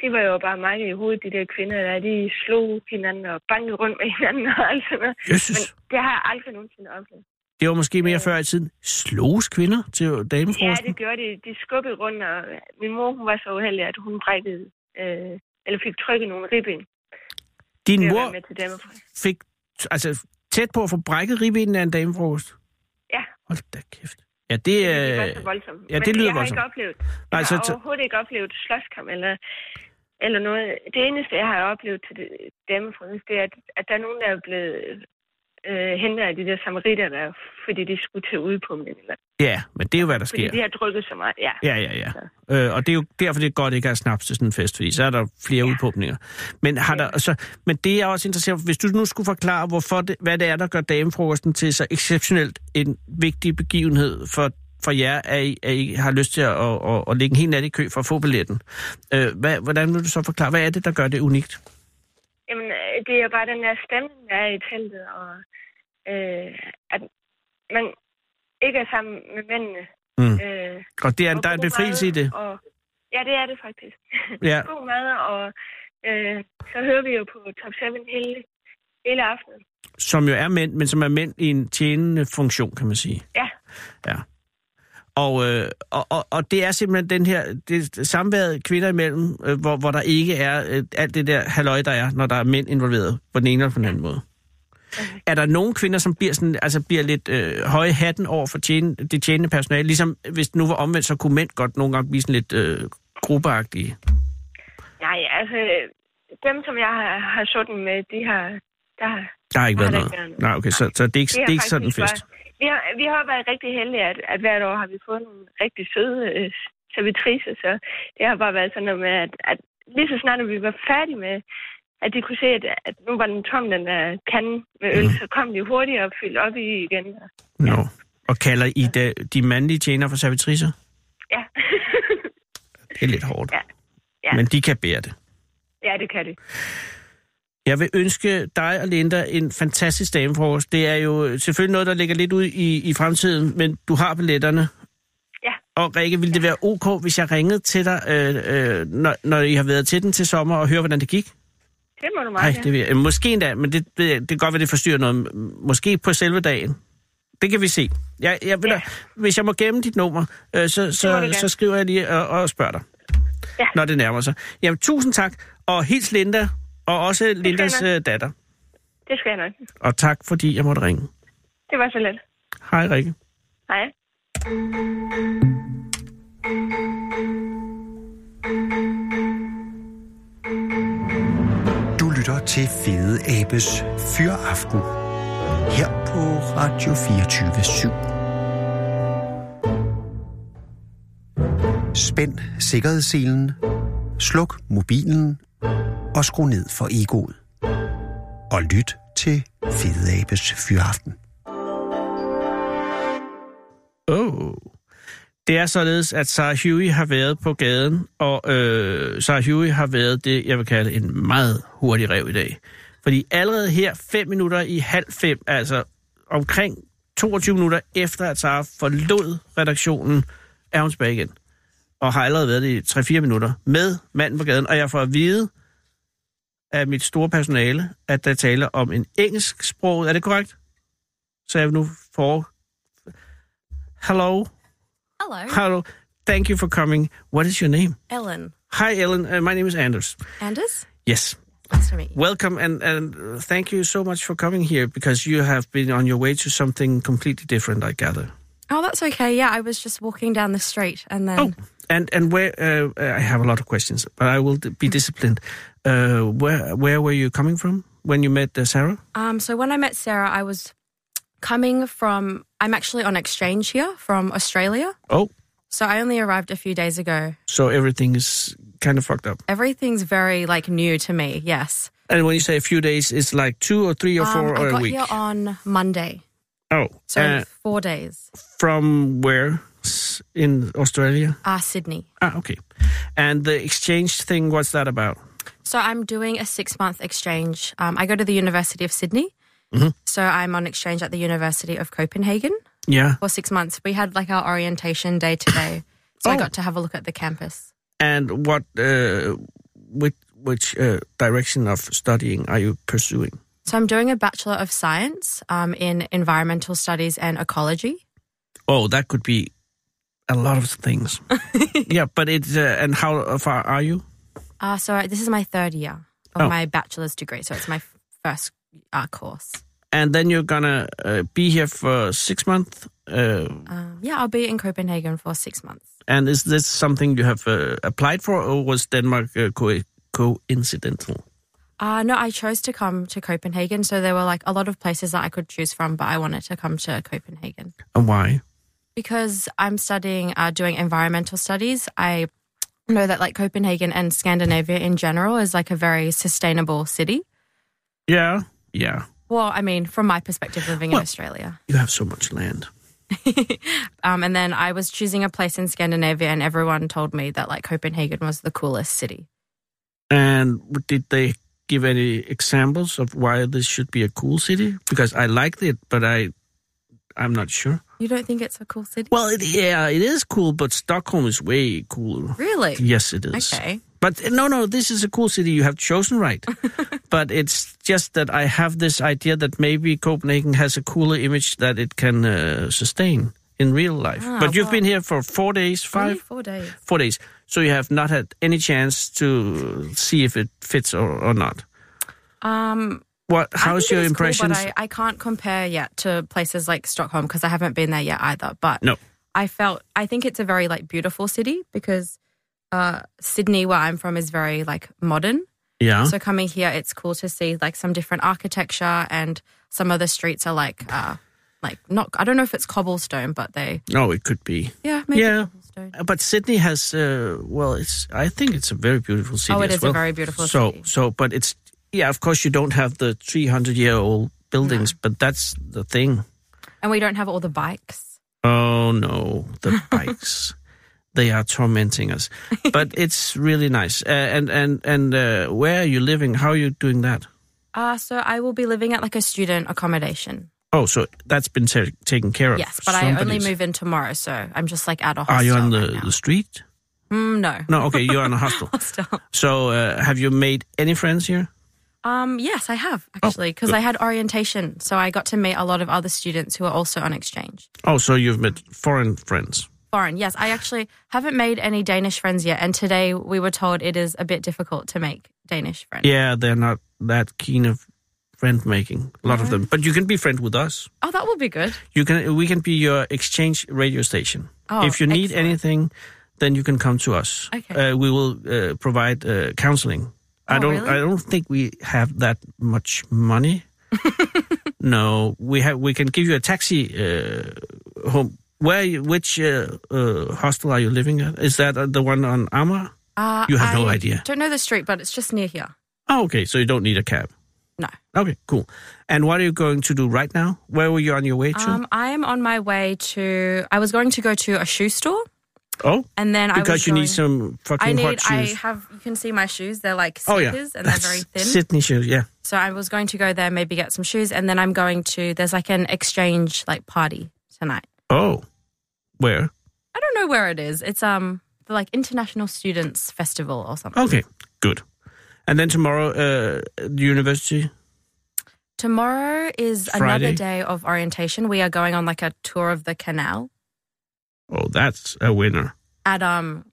[SPEAKER 3] de var jo bare mange i hovedet, de der kvinder, der de slog hinanden og bankede rundt med hinanden og alt sådan noget.
[SPEAKER 2] Jesus,
[SPEAKER 3] Men det har jeg aldrig nogensinde oplevet.
[SPEAKER 2] det var måske mere før i tiden. Sloges kvinder til
[SPEAKER 3] Ja,
[SPEAKER 2] damefrokosten?
[SPEAKER 3] det gjorde de. De skubbede rundt, og min mor, hun var så uheldig, at hun brækkede, øh, eller fik trykket nogle ribben.
[SPEAKER 2] Din
[SPEAKER 3] ved at
[SPEAKER 2] mor
[SPEAKER 3] være med til damefrokost.
[SPEAKER 2] fik altså, tæt på at få brækket ribbenene af en damefrokost?
[SPEAKER 3] Ja.
[SPEAKER 2] Hold da kæft. Ja, det
[SPEAKER 3] Det
[SPEAKER 2] er...
[SPEAKER 3] var så voldsomt.
[SPEAKER 2] ja, det
[SPEAKER 3] Men
[SPEAKER 2] lyder
[SPEAKER 3] jeg har
[SPEAKER 2] voldsomt.
[SPEAKER 3] ikke oplevet, jeg
[SPEAKER 2] Nej,
[SPEAKER 3] har
[SPEAKER 2] så- så-
[SPEAKER 3] overhovedet ikke oplevet slåskamp eller, eller noget. Det eneste, jeg har oplevet til det- damefrokost, det er, at, at der er nogen, der er blevet øh, hentet af de der samaritter, der, fordi de skulle til udpumpning. Eller,
[SPEAKER 2] Ja, men det er jo, hvad der
[SPEAKER 3] fordi
[SPEAKER 2] sker.
[SPEAKER 3] de har drukket så meget. Ja,
[SPEAKER 2] Ja, ja, ja. Øh, og det er jo derfor, det er godt ikke at have snaps til sådan en fest, fordi så er der flere ja. udpumpninger. Men, har der, så, men det er jeg også interesseret for. Hvis du nu skulle forklare, hvorfor det, hvad det er, der gør damefrokosten til så exceptionelt en vigtig begivenhed for, for jer, at I, at I har lyst til at, at, at, at lægge en hel nat i kø for at få billetten. Øh, hvad, hvordan vil du så forklare, hvad er det, der gør det unikt?
[SPEAKER 3] Jamen, øh, det er bare den der stemning, der er i teltet, og øh, at man ikke er sammen med mændene.
[SPEAKER 2] Mm.
[SPEAKER 3] Øh,
[SPEAKER 2] Og det er,
[SPEAKER 3] og
[SPEAKER 2] der er en
[SPEAKER 3] god
[SPEAKER 2] befrielse i
[SPEAKER 3] mad,
[SPEAKER 2] det.
[SPEAKER 3] Og, ja, det er det faktisk.
[SPEAKER 2] Ja,
[SPEAKER 3] god mad, og øh, så hører vi jo på Top 7 hele, hele aftenen.
[SPEAKER 2] som jo er mænd, men som er mænd i en tjenende funktion, kan man sige.
[SPEAKER 3] Ja,
[SPEAKER 2] Og, øh, og, og, og det er simpelthen den her, det samværet kvinder imellem, øh, hvor, hvor der ikke er øh, alt det der halløj, der er, når der er mænd involveret, på den ene eller på den anden måde. Er der nogle kvinder, som bliver, sådan, altså bliver lidt øh, høje i hatten over for tjene, det tjenende personale? Ligesom hvis det nu var omvendt, så kunne mænd godt nogle gange blive sådan lidt øh, gruppeagtige.
[SPEAKER 3] nej, altså, øh, dem, som jeg har, har sådan med, de har... Der,
[SPEAKER 2] Der har ikke
[SPEAKER 3] Der
[SPEAKER 2] været
[SPEAKER 3] har
[SPEAKER 2] noget.
[SPEAKER 3] der ikke været
[SPEAKER 2] Nej, okay, så, så det er ikke,
[SPEAKER 3] de
[SPEAKER 2] det
[SPEAKER 3] har
[SPEAKER 2] er ikke sådan en
[SPEAKER 3] faktisk
[SPEAKER 2] fest.
[SPEAKER 3] Bare, vi, har, vi har været rigtig heldige, at, at hvert år har vi fået nogle rigtig søde øh, servitriser, så det har bare været sådan noget med, at, at lige så snart, at vi var færdige med, at de kunne se, at, at nu var den tom, den der kande med øl,
[SPEAKER 2] Mm.
[SPEAKER 3] så kom de hurtigt og fyldte op i igen.
[SPEAKER 2] Nå. Og kalder I da, de mandlige tjenere for servitriser?
[SPEAKER 3] Ja.
[SPEAKER 2] Det er lidt hårdt.
[SPEAKER 3] Ja. Ja.
[SPEAKER 2] Men de kan bære det.
[SPEAKER 3] ja, det kan de.
[SPEAKER 2] Jeg vil ønske dig og Linda en fantastisk damefrokost. Det er jo selvfølgelig noget, der ligger lidt ud i, i fremtiden, men du har billetterne.
[SPEAKER 3] Ja.
[SPEAKER 2] Og Rikke, ville det være ok, hvis jeg ringede til dig, øh, øh, når, når I har været til den til sommer, og høre, hvordan det gik?
[SPEAKER 3] Det må du meget
[SPEAKER 2] Nej,
[SPEAKER 3] gerne.
[SPEAKER 2] det vil jeg. Måske endda, men det, det, det kan godt være, det forstyrrer noget. Måske på selve dagen. Det kan vi se. Jeg, jeg vil ja. da, hvis jeg må gemme dit nummer, øh, så,
[SPEAKER 3] må du
[SPEAKER 2] så,
[SPEAKER 3] gerne.
[SPEAKER 2] så skriver jeg lige og, og spørger dig,
[SPEAKER 3] Ja.
[SPEAKER 2] når det nærmer sig. Jamen, tusind tak, og hils Linda, og også Lindas
[SPEAKER 3] nok.
[SPEAKER 2] øh, datter.
[SPEAKER 3] Det skal jeg nok.
[SPEAKER 2] Og tak, fordi jeg måtte ringe.
[SPEAKER 3] Det var så let.
[SPEAKER 2] Hej, Rikke.
[SPEAKER 3] Hej.
[SPEAKER 1] Du lytter til Fede Abes Fyraften her på Radio 24 Spænd sikkerhedsselen, sluk mobilen og skru ned for egoet. Og lyt til Fede Abes Fyraften.
[SPEAKER 2] Oh. Det er således, at Sarah Huey har været på gaden, og øh, Sarah Huey har været det, jeg vil kalde en meget hurtig rev i dag. Fordi allerede her, fem minutter i halv fem, altså omkring 22 minutter efter, at Sarah forlod redaktionen, er hun tilbage igen. Og har allerede været det i 3-4 minutter med manden på gaden, og jeg får at vide af mit store personale, at der taler om en engelsk sprog. Er det korrekt? Så jeg nu får... Hello?
[SPEAKER 4] Hello,
[SPEAKER 2] Hello. Thank you for coming. What is your name?
[SPEAKER 4] Ellen.
[SPEAKER 2] Hi, Ellen. Uh, my name is Anders.
[SPEAKER 4] Anders?
[SPEAKER 2] Yes.
[SPEAKER 4] Nice to meet you.
[SPEAKER 2] Welcome and, and uh, thank you so much for coming here because you have been on your way to something completely different, I gather.
[SPEAKER 4] Oh, that's okay. Yeah, I was just walking down the street and then.
[SPEAKER 2] Oh, and and where? Uh, I have a lot of questions, but I will d- be disciplined. Uh, where where were you coming from when you met uh, Sarah?
[SPEAKER 4] Um, so when I met Sarah, I was coming from. I'm actually on exchange here from Australia.
[SPEAKER 2] Oh,
[SPEAKER 4] So I only arrived a few days ago.
[SPEAKER 2] so everything is kind of fucked up.
[SPEAKER 4] Everything's very like new to me. Yes.
[SPEAKER 2] And when you say a few days, it's like two or three or
[SPEAKER 4] um,
[SPEAKER 2] four
[SPEAKER 4] I
[SPEAKER 2] or
[SPEAKER 4] got
[SPEAKER 2] a week.
[SPEAKER 4] here on Monday,
[SPEAKER 2] oh,
[SPEAKER 4] so
[SPEAKER 2] uh,
[SPEAKER 4] four days.
[SPEAKER 2] from where S- in Australia?
[SPEAKER 4] Ah, Sydney.
[SPEAKER 2] Ah, okay. And the exchange thing, what's that about?
[SPEAKER 4] So I'm doing a six month exchange. Um, I go to the University of Sydney.
[SPEAKER 2] Mm-hmm.
[SPEAKER 4] So I'm on exchange at the University of Copenhagen.
[SPEAKER 2] Yeah.
[SPEAKER 4] for six months. We had like our orientation day today, so I
[SPEAKER 2] Oh.
[SPEAKER 4] got to have a look at the campus.
[SPEAKER 2] And what, uh, which, which uh, direction of studying are you pursuing?
[SPEAKER 4] So I'm doing a Bachelor of Science um, in Environmental Studies and Ecology.
[SPEAKER 2] Oh, that could be a lot of things. yeah, but it's, uh, and how far are you?
[SPEAKER 4] Uh, so I- this is my third year of
[SPEAKER 2] Oh.
[SPEAKER 4] my bachelor's degree, so it's my f- first uh, course.
[SPEAKER 2] And then you're gonna uh, be here for six months. Uh,
[SPEAKER 4] Um, yeah, I'll be in Copenhagen for six months.
[SPEAKER 2] and is this something you have uh, applied for, or was Denmark uh, co- coincidental?
[SPEAKER 4] Uh, no, I chose to come to Copenhagen, so there were like a lot of places that I could choose from, but I wanted to come to Copenhagen.
[SPEAKER 2] And why?
[SPEAKER 4] because I'm studying uh, doing environmental studies, I know that like Copenhagen and Scandinavia in general is like a very sustainable city.
[SPEAKER 2] Yeah, yeah.
[SPEAKER 4] Well, I mean, from my perspective, living
[SPEAKER 2] Well-
[SPEAKER 4] in Australia.
[SPEAKER 2] You have so much land.
[SPEAKER 4] Um, and then I was choosing a place in Scandinavia, and everyone told me that like Copenhagen was the coolest city.
[SPEAKER 2] And did they give any examples of why this should be a cool city? Because I liked it, but I, I'm not sure.
[SPEAKER 4] You don't think it's a cool city?
[SPEAKER 2] Well, it, yeah, it is cool, but Stockholm is way cooler.
[SPEAKER 4] really?
[SPEAKER 2] Yes, it is.
[SPEAKER 4] Okay.
[SPEAKER 2] But no, no, this is a cool city. You have chosen right. but it's just that I have this idea that maybe Copenhagen has a cooler image that it can uh, sustain in real life.
[SPEAKER 4] Ah,
[SPEAKER 2] but you've
[SPEAKER 4] well-
[SPEAKER 2] been here for four days,
[SPEAKER 4] Only
[SPEAKER 2] five,
[SPEAKER 4] four days.
[SPEAKER 2] four days. So you have not had any chance to see if it fits or, or not.
[SPEAKER 4] Um,
[SPEAKER 2] What?
[SPEAKER 4] I
[SPEAKER 2] How's
[SPEAKER 4] think
[SPEAKER 2] your
[SPEAKER 4] it is cool,
[SPEAKER 2] impressions?
[SPEAKER 4] but I, I can't compare yet to places like Stockholm because I haven't been there yet either. But
[SPEAKER 2] No.
[SPEAKER 4] I felt I think it's a very like beautiful city because uh, Sydney, where I'm from, is very like modern.
[SPEAKER 2] yeah.
[SPEAKER 4] So coming here, it's cool to see like some different architecture and some of the streets are like uh, like not. I don't know if it's cobblestone, but they
[SPEAKER 2] no, it could be.
[SPEAKER 4] yeah maybe
[SPEAKER 2] Yeah.
[SPEAKER 4] cobblestone.
[SPEAKER 2] But Sydney has. Uh, well, it's. I think it's a very beautiful city.
[SPEAKER 4] Oh, it
[SPEAKER 2] as
[SPEAKER 4] is a
[SPEAKER 2] well.
[SPEAKER 4] very beautiful
[SPEAKER 2] so,
[SPEAKER 4] city.
[SPEAKER 2] So, but it's. Yeah, of course you don't have the 300 year old buildings, but that's the thing.
[SPEAKER 4] And we don't have all the bikes.
[SPEAKER 2] Oh no, the bikes. They are tormenting us, but it's really nice. Uh, and and and uh, where are you living? How are you doing that?
[SPEAKER 4] Uh, so I will be living at like a student accommodation.
[SPEAKER 2] Oh, so that's been ta- taken care of.
[SPEAKER 4] Yes, but I only
[SPEAKER 2] Somebody's-
[SPEAKER 4] move in tomorrow, so I'm just like at a hostel.
[SPEAKER 2] Are you on the,
[SPEAKER 4] right now.
[SPEAKER 2] the street?
[SPEAKER 4] Mm, no.
[SPEAKER 2] No, okay, you're on a hostel.
[SPEAKER 4] Hostel.
[SPEAKER 2] So, uh, have you made any friends here?
[SPEAKER 4] Um, yes, I have
[SPEAKER 2] Oh,
[SPEAKER 4] actually, because I had orientation, so I got to meet a lot of other students who are also on exchange.
[SPEAKER 2] Oh, so you've met foreign friends.
[SPEAKER 4] Foreign, yes, I actually haven't made any Danish friends yet, and today we were told it is a bit difficult to make Danish friends.
[SPEAKER 2] Yeah, they're not that keen of friend making. A lot
[SPEAKER 4] Mm-hmm.
[SPEAKER 2] of them, but you can be friend with us.
[SPEAKER 4] Oh, that will be good.
[SPEAKER 2] You can. We can be your exchange radio station.
[SPEAKER 4] Oh,
[SPEAKER 2] if you need
[SPEAKER 4] excellent.
[SPEAKER 2] anything, then you can come to us.
[SPEAKER 4] Okay.
[SPEAKER 2] Uh, we will uh, provide uh, counseling. I
[SPEAKER 4] Oh,
[SPEAKER 2] don't.
[SPEAKER 4] really?
[SPEAKER 2] I don't think we have that much money. no, we have. We can give you a taxi uh, home. Where? you- Which uh, uh, hostel are you living at? Is that uh, the one on Amager?
[SPEAKER 4] Uh,
[SPEAKER 2] You have no
[SPEAKER 4] I
[SPEAKER 2] idea.
[SPEAKER 4] Don't know the street, but it's just near here.
[SPEAKER 2] Oh, okay. So you don't need a cab.
[SPEAKER 4] No.
[SPEAKER 2] Okay, cool. And what are you going to do right now? Where were you on your way to?
[SPEAKER 4] Um, I am on my way to. I was going to go to a shoe store,
[SPEAKER 2] oh,
[SPEAKER 4] and then I was
[SPEAKER 2] because you
[SPEAKER 4] going-
[SPEAKER 2] need some fucking
[SPEAKER 4] I
[SPEAKER 2] hot
[SPEAKER 4] need.
[SPEAKER 2] shoes.
[SPEAKER 4] I have. You can see my shoes. They're like sneakers,
[SPEAKER 2] oh yeah,
[SPEAKER 4] and they're
[SPEAKER 2] That's
[SPEAKER 4] very thin.
[SPEAKER 2] Sydney shoes. Yeah.
[SPEAKER 4] So I was going to go there, maybe get some shoes, and then I'm going to. There's like an exchange like party tonight.
[SPEAKER 2] Oh, where?
[SPEAKER 4] I don't know where it is. It's um the like International Students Festival or something.
[SPEAKER 2] Okay, good. And then tomorrow, uh, the university.
[SPEAKER 4] Tomorrow is
[SPEAKER 2] Friday.
[SPEAKER 4] another day of orientation. We are going on like a tour of the canal
[SPEAKER 2] Oh, that's a winner.
[SPEAKER 4] at um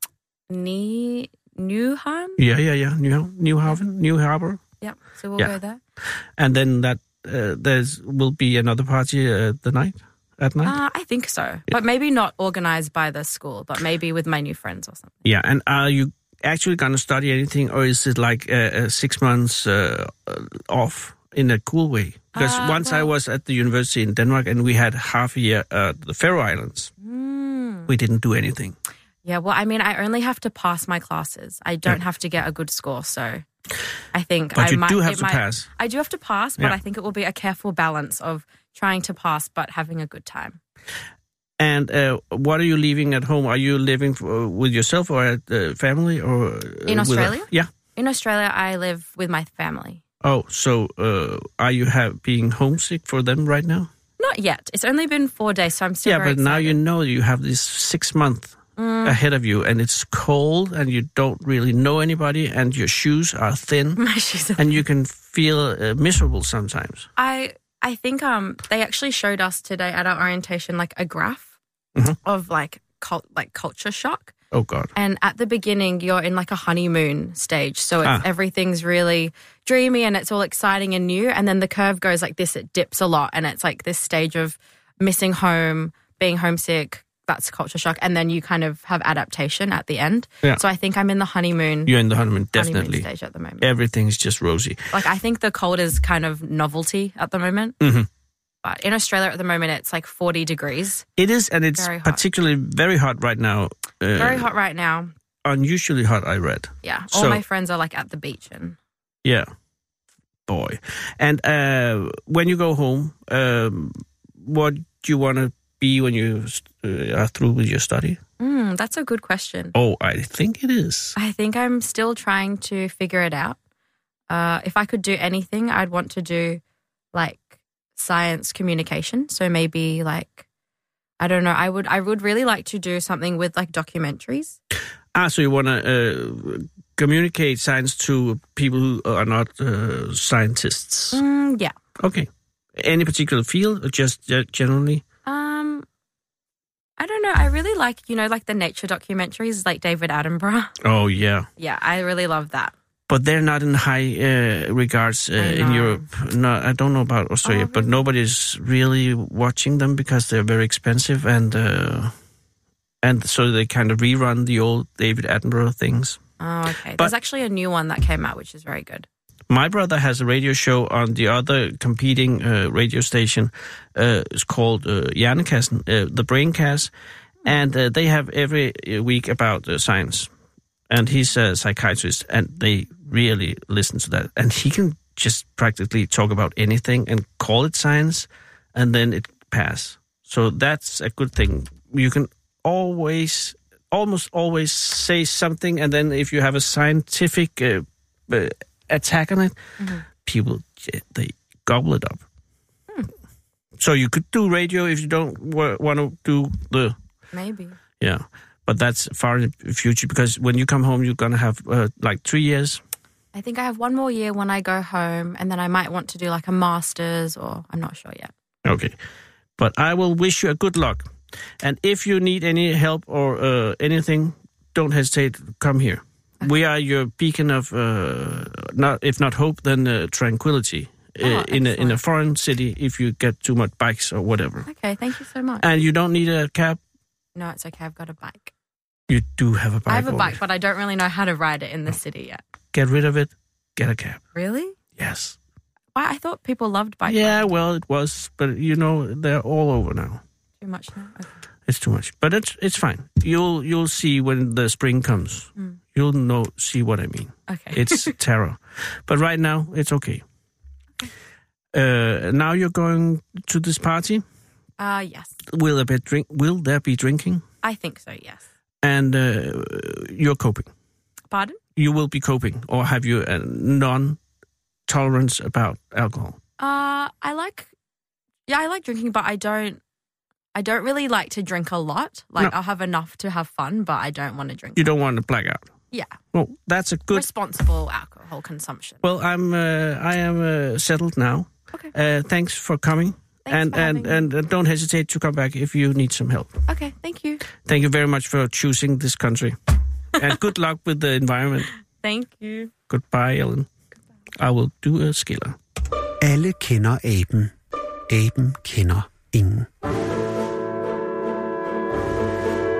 [SPEAKER 4] Ni- Newham.
[SPEAKER 2] Yeah, yeah, yeah. New New Haven, New Harbor,
[SPEAKER 4] Yep. So we'll
[SPEAKER 2] Yeah.
[SPEAKER 4] go there.
[SPEAKER 2] and then that uh, there's will be another party uh, the night at night.
[SPEAKER 4] Uh, I think so, but maybe not organized by the school, but maybe with my new friends or something.
[SPEAKER 2] Yeah, and are you actually going to study anything, or is it like uh, uh, six months uh, uh, off in a cool way? Because
[SPEAKER 4] Uh,
[SPEAKER 2] once I
[SPEAKER 4] well-
[SPEAKER 2] was at the university in Denmark, and we had half a year at the Faroe Islands,
[SPEAKER 4] Mm.
[SPEAKER 2] we didn't do anything.
[SPEAKER 4] Yeah. Well, I mean, I only have to pass my classes. I don't have to get a good score, so I think.
[SPEAKER 2] But
[SPEAKER 4] I
[SPEAKER 2] you
[SPEAKER 4] might,
[SPEAKER 2] do have
[SPEAKER 4] it
[SPEAKER 2] to
[SPEAKER 4] might-
[SPEAKER 2] pass.
[SPEAKER 4] I do have to pass, but
[SPEAKER 2] Yeah.
[SPEAKER 4] I think it will be a careful balance of trying to pass but having a good time.
[SPEAKER 2] And uh, what are you leaving at home? Are you living for, with yourself or at uh, family or uh,
[SPEAKER 4] In
[SPEAKER 2] with a-
[SPEAKER 4] Australia?
[SPEAKER 2] yeah.
[SPEAKER 4] In Australia, I live with my family.
[SPEAKER 2] Oh, so uh, are you have being homesick for them right now?
[SPEAKER 4] Not yet. It's only been four days, so I'm still.
[SPEAKER 2] yeah, but
[SPEAKER 4] very
[SPEAKER 2] now you
[SPEAKER 4] excited. Mm.
[SPEAKER 2] know you have this six month ahead of you, and it's cold, and you don't really know anybody, and your shoes are thin,
[SPEAKER 4] my shoes. Are,
[SPEAKER 2] and you can feel uh, miserable sometimes.
[SPEAKER 4] I I think um they actually showed us today at our orientation like a graph
[SPEAKER 2] Mhm.
[SPEAKER 4] of like cult like culture shock.
[SPEAKER 2] Oh God.
[SPEAKER 4] And at the beginning, you're in like a honeymoon stage. So it's,
[SPEAKER 2] Ah.
[SPEAKER 4] everything's really dreamy and it's all exciting and new. And then the curve goes like this it dips a lot. And it's like this stage of missing home, being homesick. That's culture shock. And then you kind of have adaptation at the end.
[SPEAKER 2] Yeah.
[SPEAKER 4] So I think I'm in the honeymoon,
[SPEAKER 2] You're in the honeymoon,
[SPEAKER 4] honeymoon
[SPEAKER 2] definitely.
[SPEAKER 4] stage at the moment.
[SPEAKER 2] Everything's just rosy.
[SPEAKER 4] Like I think the cold is kind of novelty at the moment.
[SPEAKER 2] Mhm.
[SPEAKER 4] But in Australia at the moment, it's like 40 degrees.
[SPEAKER 2] It is, and it's
[SPEAKER 4] Very hot.
[SPEAKER 2] particularly very hot right now. Uh,
[SPEAKER 4] Very hot right now.
[SPEAKER 2] Unusually hot, I read.
[SPEAKER 4] Yeah. All
[SPEAKER 2] So-
[SPEAKER 4] my friends are like at the beach and
[SPEAKER 2] Yeah. Boy. And uh, when you go home, um, what do you want to be when you uh, are through with your study?
[SPEAKER 4] Mm, that's a good question.
[SPEAKER 2] Oh, I think it is.
[SPEAKER 4] I think I'm still trying to figure it out. Uh, if I could do anything, I'd want to do like science communication. So maybe like I don't know. I would I would really like to do something with like documentaries.
[SPEAKER 2] Ah, so you want to uh, communicate science to people who are not uh, scientists.
[SPEAKER 4] Mm, yeah.
[SPEAKER 2] Okay. Any particular field or just ge- generally?
[SPEAKER 4] Um. I don't know. I really like you know like the nature documentaries, like David Attenborough.
[SPEAKER 2] Oh, yeah.
[SPEAKER 4] Yeah, I really love that.
[SPEAKER 2] But they're not in high uh, regards uh, in
[SPEAKER 4] know.
[SPEAKER 2] Europe. No, I don't know about Australia, but nobody's really watching them because they're very expensive and uh, and so they kind of rerun the old David Attenborough things.
[SPEAKER 4] Oh, okay.
[SPEAKER 2] But-
[SPEAKER 4] There's actually a new one that came out, which is very good.
[SPEAKER 2] My brother has a radio show on the other competing uh, radio station. Uh, it's called uh, Hjernekassen, uh, the Braincast, and uh, they have every uh, week about uh, science. And he's a psychiatrist, and they really listen to that. And he can just practically talk about anything and call it science, and then it pass. So that's a good thing. You can always, almost always say something, and then if you have a scientific uh, uh, attack on it, people j- they gobble it up. So you could do radio if you don't w- want to do the
[SPEAKER 4] Maybe.
[SPEAKER 2] yeah, but that's far in the future because when you come home, you're gonna have uh, like three years.
[SPEAKER 4] I think I have one more year when I go home, and then I might want to do like a master's or I'm not sure yet.
[SPEAKER 2] Okay. But I will wish you a good luck. And if you need any help or uh, anything, don't hesitate. Come here. We are your beacon of, uh, not if not hope, then uh, tranquility uh, in a, in a
[SPEAKER 4] Oh, excellent.
[SPEAKER 2] foreign city. If you get too much bikes or whatever,
[SPEAKER 4] Okay, thank you so much.
[SPEAKER 2] and you don't need a cab,
[SPEAKER 4] no, it's okay. I've got a bike.
[SPEAKER 2] you do have a bike.
[SPEAKER 4] I have a
[SPEAKER 2] already.
[SPEAKER 4] bike, but I don't really know how to ride it in the city yet.
[SPEAKER 2] Get rid of it. Get a cab.
[SPEAKER 4] Really?
[SPEAKER 2] Yes.
[SPEAKER 4] Why? I thought people loved bike
[SPEAKER 2] yeah.
[SPEAKER 4] rides
[SPEAKER 2] Well, it was, but you know they're all over now.
[SPEAKER 4] too much now. Okay.
[SPEAKER 2] It's too much, but it's it's fine. You'll you'll see when the spring comes. You'll know see what I mean.
[SPEAKER 4] Okay.
[SPEAKER 2] It's terror, but right now it's okay. Uh, now you're going to this party.
[SPEAKER 4] Uh, yes,
[SPEAKER 2] Will there be drink? Will there be drinking?
[SPEAKER 4] I think so. Yes.
[SPEAKER 2] And uh, you're coping.
[SPEAKER 4] Pardon?
[SPEAKER 2] You will be coping, or have you a non-tolerance about alcohol?
[SPEAKER 4] Uh, I like, yeah, I like drinking, but I don't, I don't really like to drink a lot. Like
[SPEAKER 2] No.
[SPEAKER 4] I'll have enough to have fun, but I don't want to drink.
[SPEAKER 2] You don't want to black out.
[SPEAKER 4] yeah,
[SPEAKER 2] Well, that's a good
[SPEAKER 4] responsible alcohol consumption.
[SPEAKER 2] Well, I'm uh, I am uh, settled now.
[SPEAKER 4] Okay.
[SPEAKER 2] Uh, thanks for coming.
[SPEAKER 4] Thanks
[SPEAKER 2] and
[SPEAKER 4] for
[SPEAKER 2] and,
[SPEAKER 4] having me.
[SPEAKER 2] and uh, don't hesitate to come back if you need some help.
[SPEAKER 4] Okay, thank you,
[SPEAKER 2] Thank you very much for choosing this country. and good luck with the environment.
[SPEAKER 4] thank you.
[SPEAKER 2] Goodbye, Ellen. I will do a skiller.
[SPEAKER 1] Alle kender aben. Aben kender ingen.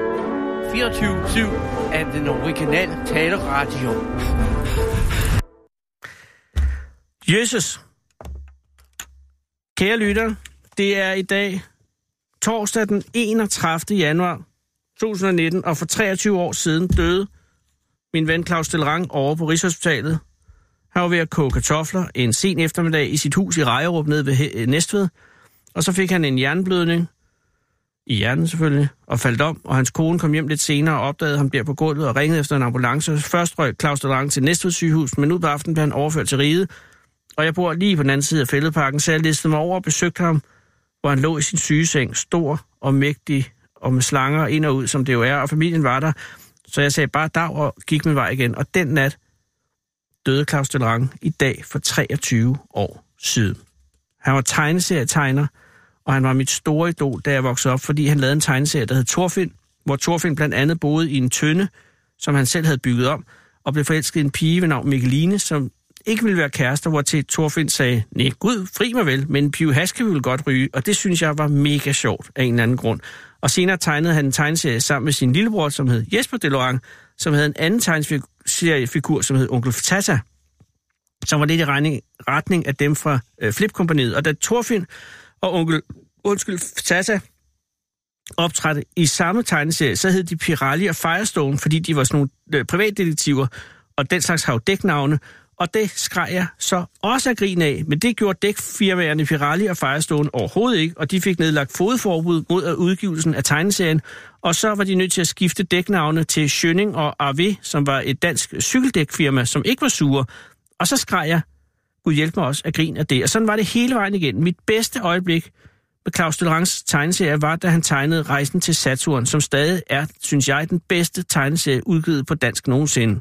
[SPEAKER 5] 24-7 af den originale taleradio.
[SPEAKER 2] Jesus. Kære lytter, det er i dag torsdag den 31. januar 2019, og for 23 år siden døde min ven Claus Delrang over på Rigshospitalet. Han var ved at koge kartofler en sen eftermiddag i sit hus i Rejerup nede ved He- Næstved, og så fik han en hjerneblødning, i hjernen selvfølgelig, og faldt om, og hans kone kom hjem lidt senere og opdagede ham der på gulvet og ringede efter en ambulance. Først røg Claus Delrang til Næstved sygehus, men ud på aftenen blev han overført til riget, og jeg bor lige på den anden side af fældeparken, så jeg listede mig over og besøgte ham, hvor han lå i sin sygeseng, stor og mægtig, og med slanger ind og ud, som det jo er, og familien var der. Så jeg sagde bare dag og gik min vej igen. Og den nat døde Claus Delrange i dag for 23 år siden. Han var tegneserietegner, og han var mit store idol, da jeg voksede op, fordi han lavede en tegneserie, der hed Torfinn, hvor Torfinn blandt andet boede i en tønde, som han selv havde bygget om, og blev forelsket i en pige ved navn Mikkeline, som ikke ville være kærester, hvor til Torfinn sagde, nej gud, fri mig vel, men en Piv Haske ville godt ryge, og det synes jeg var mega sjovt af en eller anden grund. Og senere tegnede han en tegneserie sammen med sin lillebror, som hed Jesper Delorange, som havde en anden tegneseriefigur, som hed Onkel Tata, som var lidt i regning, retning af dem fra øh, Flipkompaniet. Og da Torfinn og onkel, undskyld, Tata optrådte i samme tegneserie, så hed de Pirelli og Firestone, fordi de var sådan nogle øh, privatdetektiver, og den slags har jo dæknavne, og det skreg jeg så også af grin af, men det gjorde dækfirmaerne Pirelli og Firestone overhovedet ikke, og de fik nedlagt fodforbud mod at udgivelsen af tegneserien, og så var de nødt til at skifte dæknavne til Schønning og AV, som var et dansk cykeldækfirma, som ikke var sure, og så skreg jeg, Gud hjælp mig også, at grin af det. Og sådan var det hele vejen igen. Mit bedste øjeblik med Claus Delrangs tegneserie var, da han tegnede Rejsen til Saturn, som stadig er, synes jeg, den bedste tegneserie udgivet på dansk nogensinde.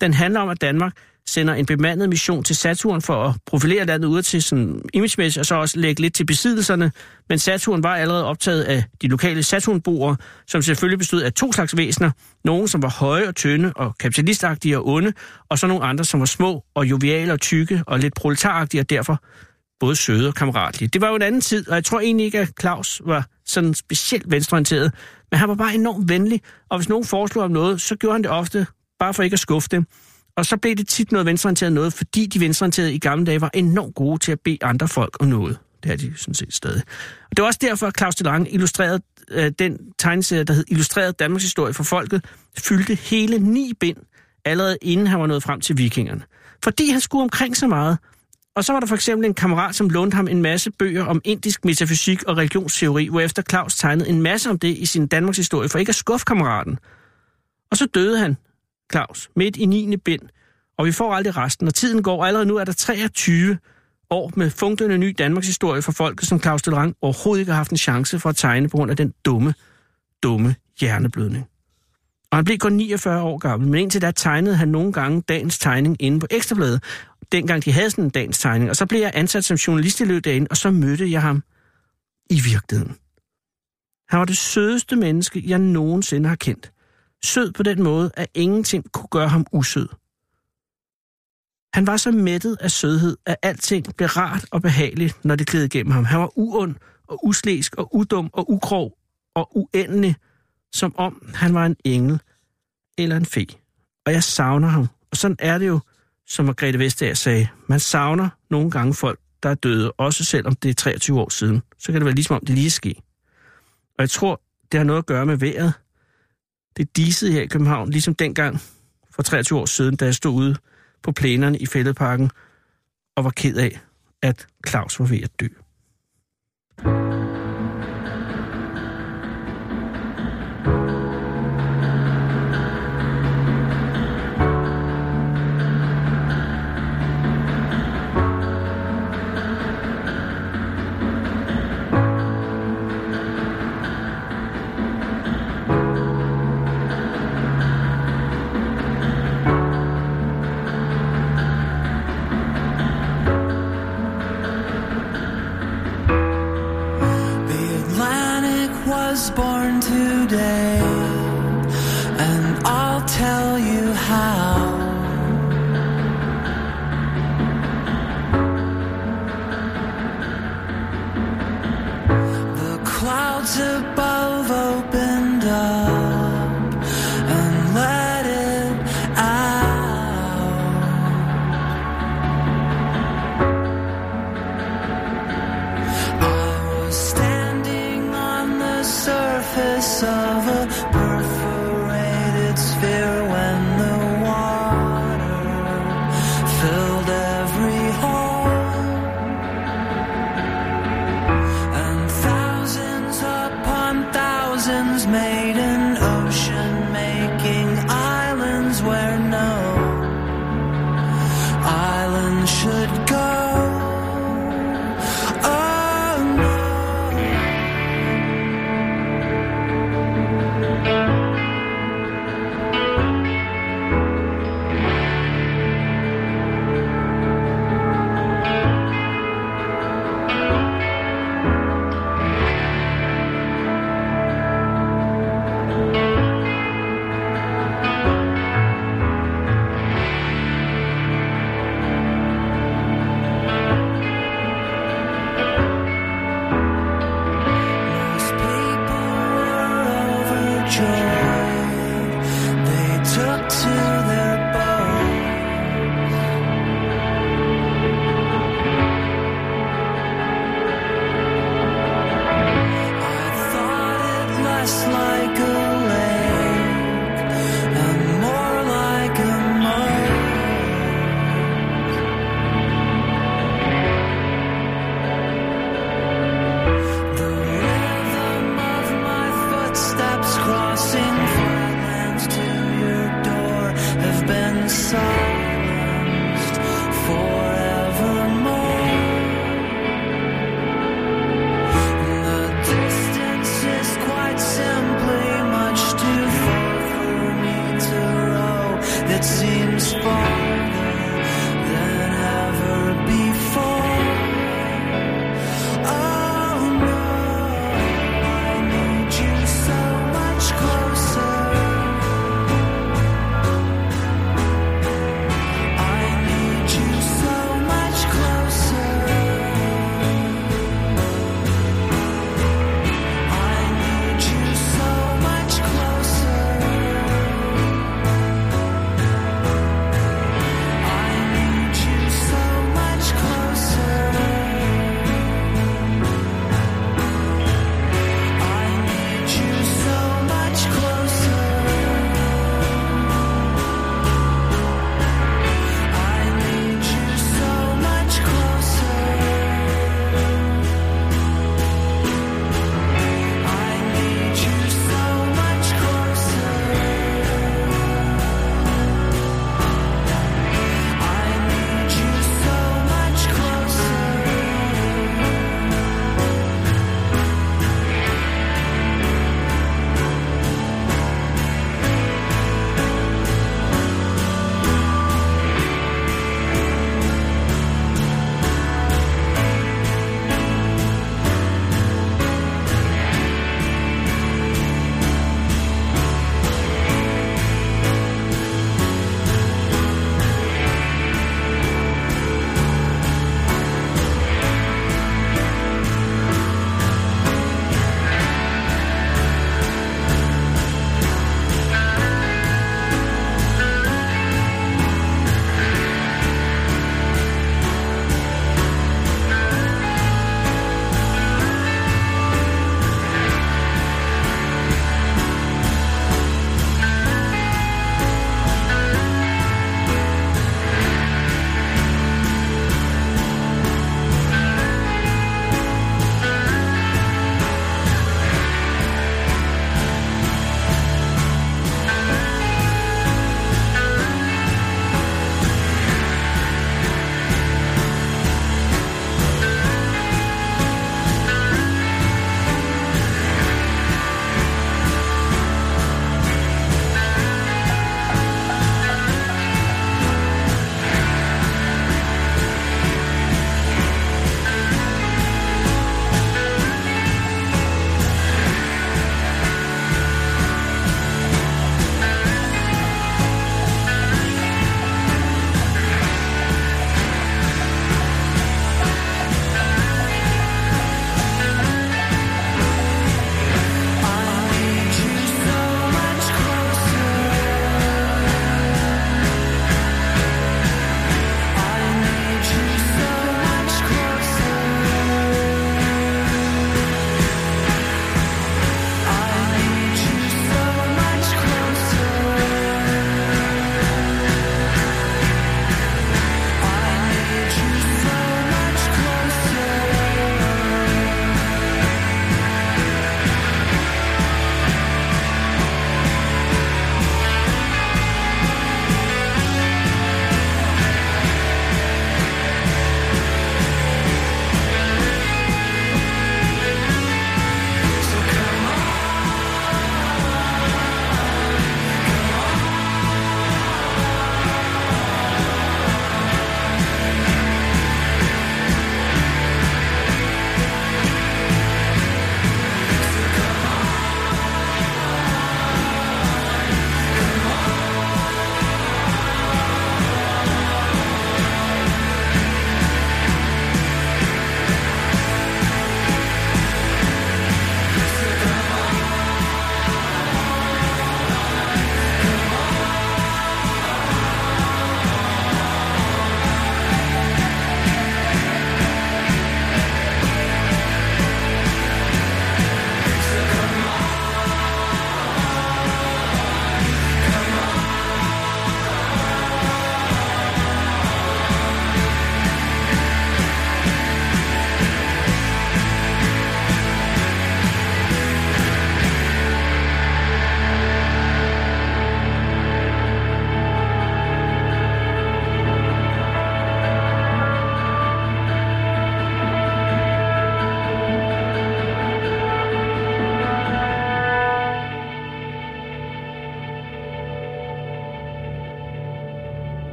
[SPEAKER 2] Den handler om, at Danmark sender en bemandet mission til Saturn for at profilere landet ud til sådan imagemæssigt, og så også lægge lidt til besiddelserne. Men Saturn var allerede optaget af de lokale Saturnboere, som selvfølgelig bestod af to slags væsener. Nogle, som var høje og tynde og kapitalistagtige og onde, og så nogle andre, som var små og joviale og tykke og lidt proletaragtige og derfor både søde og kammeratlige. Det var jo en anden tid, og jeg tror egentlig ikke, at Claus var sådan specielt venstreorienteret, men han var bare enormt venlig, og hvis nogen foreslog ham noget, så gjorde han det ofte, bare for ikke at skuffe dem. Og så blev det tit noget venstreorienteret noget, fordi de venstreorienterede i gamle dage var enormt gode til at bede andre folk om noget. Det er de sådan set stadig. Og det var også derfor, at Claus Delange illustrerede øh, den tegneserie, der hed Illustreret Danmarks Historie for Folket, fyldte hele ni bind, allerede inden han var nået frem til vikingerne. Fordi han skulle omkring så meget, og så var der for eksempel en kammerat, som lånte ham en masse bøger om indisk metafysik og religionsteori, hvorefter Claus tegnede en masse om det i sin Danmarks historie, for ikke at skuffe kammeraten. Og så døde han, Claus, midt i 9. bind, og vi får aldrig resten, og tiden går, og allerede nu er der 23 år med funklende ny Danmarks historie for folket, som Claus Delrang overhovedet ikke har haft en chance for at tegne på grund af den dumme, dumme hjerneblødning. Og han blev kun 49 år gammel, men indtil da tegnede han nogle gange dagens tegning inde på Ekstrabladet. Dengang de havde sådan en dagens tegning. Og så blev jeg ansat som journalist i løbet af dagen, og så mødte jeg ham i virkeligheden. Han var det sødeste menneske, jeg nogensinde har kendt. Sød på den måde, at ingenting kunne gøre ham usød. Han var så mættet af sødhed, at alting blev rart og behageligt, når det gled igennem ham. Han var uond og uslæsk og udum og ukrog og uendelig, som om han var en engel eller en fe. Og jeg savner ham. Og sådan er det jo, som Margrethe Vestager sagde. Man savner nogle gange folk, der er døde, også selvom det er 23 år siden. Så kan det være ligesom om det lige sker. Og jeg tror, det har noget at gøre med vejret. Det disede her i København, ligesom dengang for 23 år siden, da jeg stod ude på plænerne i Fældeparken og var ked af, at Claus var ved at dø.
[SPEAKER 6] The Atlantic was born today, and I'll tell you how. The clouds above opened up and let it out. I was standing on the surface of a perforated sphere when the water filled every hole, and thousands upon thousands made an ocean, making islands where no island should go. Oh no.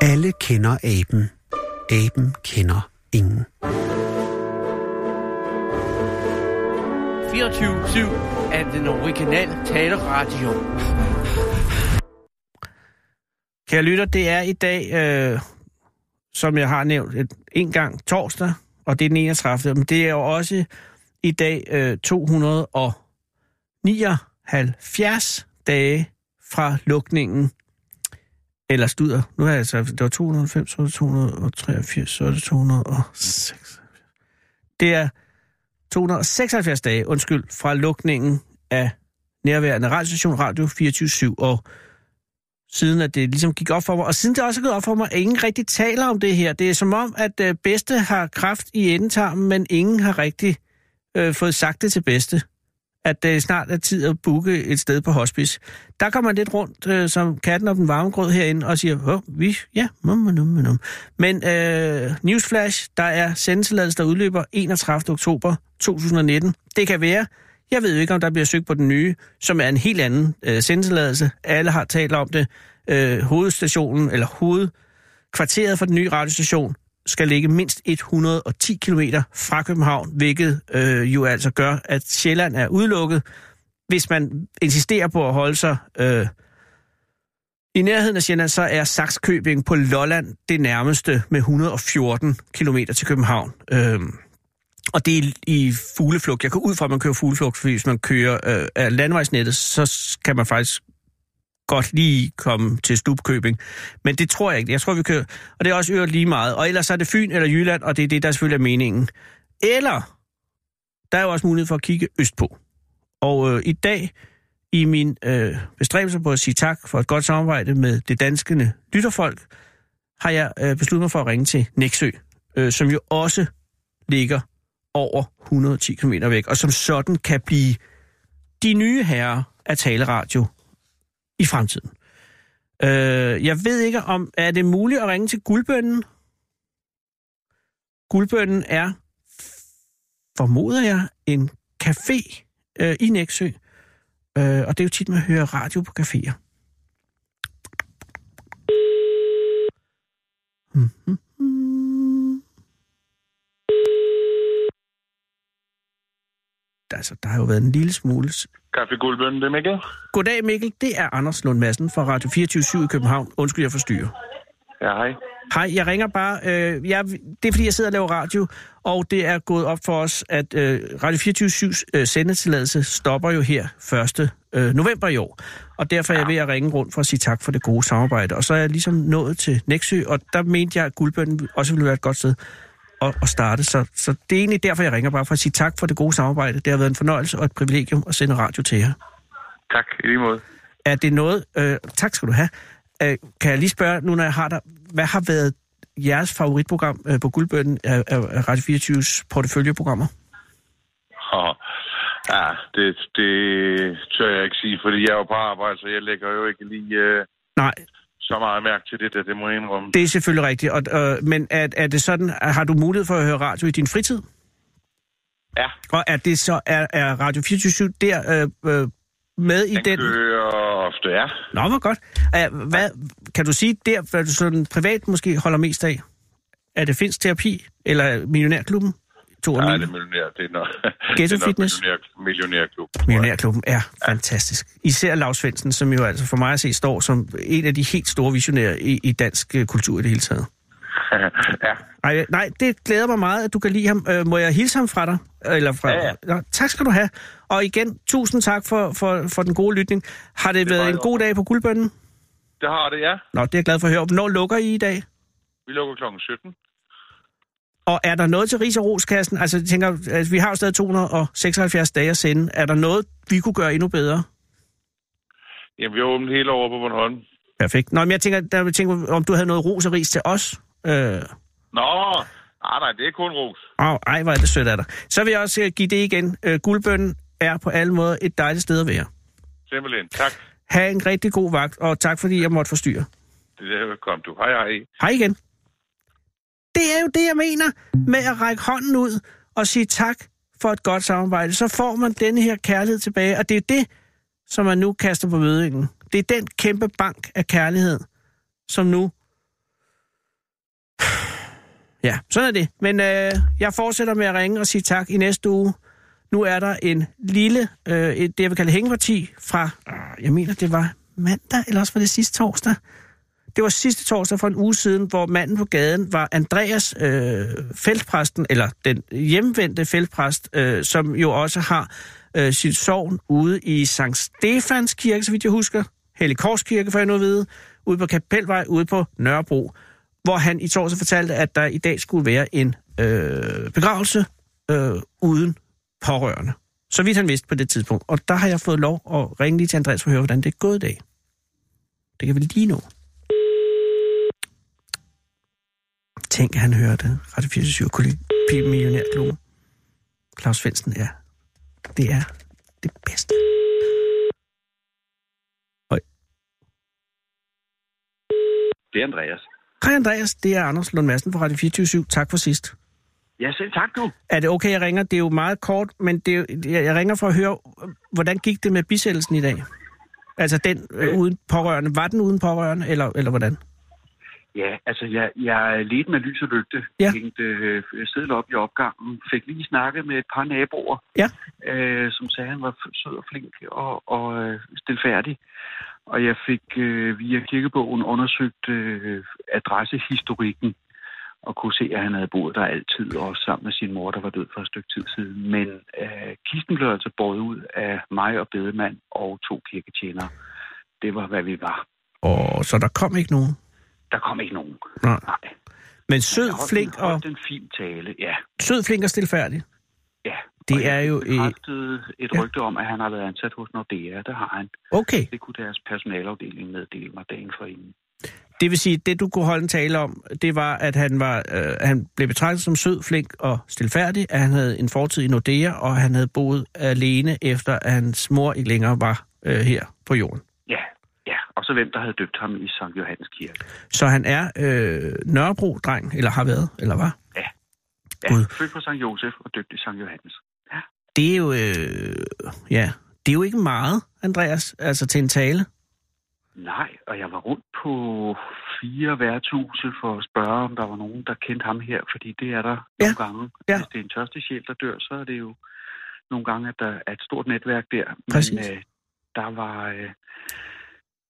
[SPEAKER 1] Alle kender aben. Aben kender ingen.
[SPEAKER 5] 24-7 af den originale taleradio.
[SPEAKER 2] Kære lytter, det er i dag, øh, som jeg har nævnt et, en gang, torsdag, og det er den 31. Men det er jo også i dag øh, 279 dage fra lukningen. Eller studer. Nu har jeg altså, det var 290, så er det 283, så er det 206. Det er 276 dage, undskyld, fra lukningen af nærværende radiostation Radio 24 og siden at det ligesom gik op for mig. Og siden det også er gået op for mig, at ingen rigtig taler om det her. Det er som om, at øh, bedste har kraft i endetarmen, men ingen har rigtig øh, fået sagt det til bedste. At det øh, snart er tid at booke et sted på hospice. Der kommer man lidt rundt øh, som katten om den varme grød herinde og siger, Hå, vi, ja, mum, mum, mum, mum. Men øh, Newsflash, der er sendetilladelse, der udløber 31. oktober 2019. Det kan være, jeg ved jo ikke, om der bliver søgt på den nye, som er en helt anden øh, sendetilladelse. Alle har talt om det. Øh, hovedstationen, eller hovedkvarteret for den nye radiostation, skal ligge mindst 110 km fra København, hvilket øh, jo altså gør, at Sjælland er udelukket, hvis man insisterer på at holde sig... Øh, i nærheden af Sjælland, så er Saxkøbing på Lolland det nærmeste med 114 km til København. Øhm, og det er i fugleflugt. Jeg går ud fra, at man kører fugleflugt, fordi hvis man kører øh, af landevejsnettet, så kan man faktisk godt lige komme til Stubkøbing. Men det tror jeg ikke. Jeg tror, vi kører... Og det er også øvrigt lige meget. Og ellers så er det Fyn eller Jylland, og det er det, der selvfølgelig er meningen. Eller, der er jo også mulighed for at kigge østpå. Og øh, i dag, i min øh, bestræbelse på at sige tak for et godt samarbejde med det danske lytterfolk, har jeg øh, besluttet mig for at ringe til Næksø, øh, som jo også ligger over 110 km væk, og som sådan kan blive de nye herrer af taleradio i fremtiden. Øh, jeg ved ikke om, er det muligt at ringe til guldbønden? Guldbønden er, formoder jeg, en café øh, i Næksø, øh, og det er jo tit, man hører radio på caféer. Altså, der har jo været en lille smule
[SPEAKER 7] Kaffe Guldbøn, det er Mikkel.
[SPEAKER 2] Goddag Mikkel, det er Anders Lund Madsen fra Radio 24 i København. Undskyld, jeg forstyrrer.
[SPEAKER 7] Ja, hej.
[SPEAKER 2] Hej, jeg ringer bare. Øh, jeg, det er fordi, jeg sidder og laver radio, og det er gået op for os, at øh, Radio 24-7's øh, sendetilladelse stopper jo her 1. Øh, november i år. Og derfor er jeg ved at ringe rundt for at sige tak for det gode samarbejde. Og så er jeg ligesom nået til Næksø, og der mente jeg, at Guldbønden også ville være et godt sted at, at starte. Så, så det er egentlig derfor, jeg ringer bare for at sige tak for det gode samarbejde. Det har været en fornøjelse og et privilegium at sende radio til jer.
[SPEAKER 7] Tak, i lige måde.
[SPEAKER 2] Er det noget... Øh, tak skal du have. Øh, kan jeg lige spørge, nu når jeg har dig, hvad har været jeres favoritprogram øh, på Guldbønden af, af af Radio 24's porteføljeprogrammer?
[SPEAKER 7] Og, ja, det, det tør jeg ikke sige, fordi jeg er jo på arbejde, så jeg lægger jo ikke lige øh,
[SPEAKER 2] Nej,
[SPEAKER 7] så meget mærke til det der, det må jeg indrømme. Det...
[SPEAKER 2] det er selvfølgelig rigtigt. Og, øh, men er, er det sådan, at har du mulighed for at høre radio i din fritid?
[SPEAKER 7] Ja,
[SPEAKER 2] Og er det så er, er Radio 24 der øh, øh, med i
[SPEAKER 7] den,
[SPEAKER 2] den?
[SPEAKER 7] kører ofte, ja.
[SPEAKER 2] Nå, hvor godt. Er, hvad, kan du sige der, hvad du sådan privat måske holder mest af? Er det finsk terapi eller millionærklubben? To af
[SPEAKER 7] Nej,
[SPEAKER 2] mine.
[SPEAKER 7] det er millionær. Det er nok,
[SPEAKER 2] Ghetto
[SPEAKER 7] det er nok
[SPEAKER 2] Fitness?
[SPEAKER 7] millionær- millionærklub.
[SPEAKER 2] Millionærklubben er fantastisk. Især Lars Svendsen, som jo altså for mig at se står som en af de helt store visionærer i, i dansk øh, kultur i det hele taget.
[SPEAKER 7] ja,
[SPEAKER 2] Ej, nej, det glæder mig meget, at du kan lide ham. Øh, må jeg hilse ham fra dig? Eller fra,
[SPEAKER 7] Ja, ja.
[SPEAKER 2] Nå, tak skal du have. Og igen, tusind tak for, for, for den gode lytning. Har det, det været
[SPEAKER 7] meget
[SPEAKER 2] en god dag på guldbønden?
[SPEAKER 7] det har det, ja.
[SPEAKER 2] Nå, det er jeg glad for at høre. Hvornår lukker I i dag?
[SPEAKER 7] Vi lukker klokken 17.
[SPEAKER 2] Og er der noget til Ris og Roskassen? Altså, jeg tænker, altså, vi har jo stadig 276 dage at sende. Er der noget, vi kunne gøre endnu bedre?
[SPEAKER 7] Jamen, vi har åbent hele over på Bornholm.
[SPEAKER 2] Perfekt. Nå, men jeg tænker, der, jeg tænker om du havde noget ros og ris til os. Øh,
[SPEAKER 7] Nå, nej, nej, det er kun ros.
[SPEAKER 2] åh, ej, hvor er det sødt af dig. Så vil jeg også øh, give det igen. Øh, guldbønden er på alle måder et dejligt sted at være.
[SPEAKER 7] Simpelthen, tak.
[SPEAKER 2] Ha' en rigtig god vagt, og tak fordi jeg måtte forstyrre.
[SPEAKER 7] Det er velkommen, du. Hej, hej.
[SPEAKER 2] Hej igen. Det er jo det, jeg mener med at række hånden ud og sige tak for et godt samarbejde. Så får man denne her kærlighed tilbage, og det er det, som man nu kaster på mødingen. Det er den kæmpe bank af kærlighed, som nu Ja, sådan er det. Men øh, jeg fortsætter med at ringe og sige tak i næste uge. Nu er der en lille, øh, et, det jeg vil kalde hængeparti fra, øh, jeg mener det var mandag, eller også var det sidste torsdag. Det var sidste torsdag for en uge siden, hvor manden på gaden var Andreas øh, feltpræsten, eller den hjemvendte feltpræst, øh, som jo også har øh, sit sovn ude i Sankt Stefans kirke, så vidt jeg husker. Helligkorskirke, får jeg nu at vide. Ude på Kapelvej, ude på Nørrebro hvor han i torsdag fortalte, at der i dag skulle være en øh, begravelse øh, uden pårørende. Så vidt han vidste på det tidspunkt. Og der har jeg fået lov at ringe lige til Andreas for at høre, hvordan det er gået i dag. Det kan vi lige nå. Tænk, at han hører det. Radio 24 kollega, millionærklubben. Claus Svendsen er. Det er det bedste.
[SPEAKER 8] Det er Andreas.
[SPEAKER 2] Hej Andreas, det er Anders Lund Madsen fra Radio 24 Tak for sidst.
[SPEAKER 8] Ja, selv tak du.
[SPEAKER 2] Er det okay, jeg ringer? Det er jo meget kort, men det er, jo- jeg jeg ringer for at høre, hvordan gik det med bisættelsen i dag? Altså den øh, uden pårørende. Var den uden pårørende, eller, eller hvordan?
[SPEAKER 8] Ja, altså jeg, jeg ledte med lys og lygte.
[SPEAKER 2] Ja.
[SPEAKER 8] Hængte øh, sædel op i opgangen. Fik lige snakket med et par naboer,
[SPEAKER 2] Ja.
[SPEAKER 8] øh, som sagde, at han var f- sød og flink og, og øh, stilfærdig. Og jeg fik øh, via kirkebogen undersøgt øh, adressehistorikken og kunne se, at han havde boet der altid, også sammen med sin mor, der var død for et stykke tid siden. Men øh, kisten blev altså båret ud af mig og bedemand og to kirketjenere. Det var, hvad vi var.
[SPEAKER 2] Og så der kom ikke nogen.
[SPEAKER 8] Der kom ikke nogen.
[SPEAKER 2] Nej.
[SPEAKER 8] Nej.
[SPEAKER 2] Men sød,
[SPEAKER 8] Jeg holdt
[SPEAKER 2] flink
[SPEAKER 8] en-
[SPEAKER 2] og,
[SPEAKER 8] holdt en fin tale, ja.
[SPEAKER 2] sød, flink og stilfærdig.
[SPEAKER 8] ja.
[SPEAKER 2] Det
[SPEAKER 8] Og jeg
[SPEAKER 2] er jo
[SPEAKER 8] fik
[SPEAKER 2] et-
[SPEAKER 8] bekræftet et
[SPEAKER 2] Ja.
[SPEAKER 8] rygte om, at han har været ansat hos Nordea. Det har han.
[SPEAKER 2] Okay.
[SPEAKER 8] Det kunne deres personalafdeling meddele mig dagen for inden.
[SPEAKER 2] Det vil sige, at det du kunne holde en tale om, det var, at han, var, øh, han blev betragtet som sød, flink og stilfærdig, at han havde en fortid i Nordea, og han havde boet alene, efter at hans mor ikke længere var øh, her på jorden.
[SPEAKER 8] Ja, ja. Og så hvem, der havde døbt ham i Sankt Johannes Kirke.
[SPEAKER 2] Så han er øh, Nørrebro-dreng, eller har været, eller var.
[SPEAKER 8] Ja,
[SPEAKER 2] Gud.
[SPEAKER 8] født på Sankt Josef og døbt i Sankt Johannes.
[SPEAKER 2] Det er jo, øh, ja, det er jo ikke meget, Andreas, altså til en tale.
[SPEAKER 8] Nej, og jeg var rundt på fire værtshuse for at spørge, om der var nogen, der kendte ham her, fordi det er der
[SPEAKER 2] Ja.
[SPEAKER 8] ja. nogle gange.
[SPEAKER 2] Ja.
[SPEAKER 8] Hvis det er en tørste sjæl, der dør, så er det jo nogle gange, at der er et stort netværk der. Men
[SPEAKER 2] Præcis.
[SPEAKER 8] øh, der var... Øh,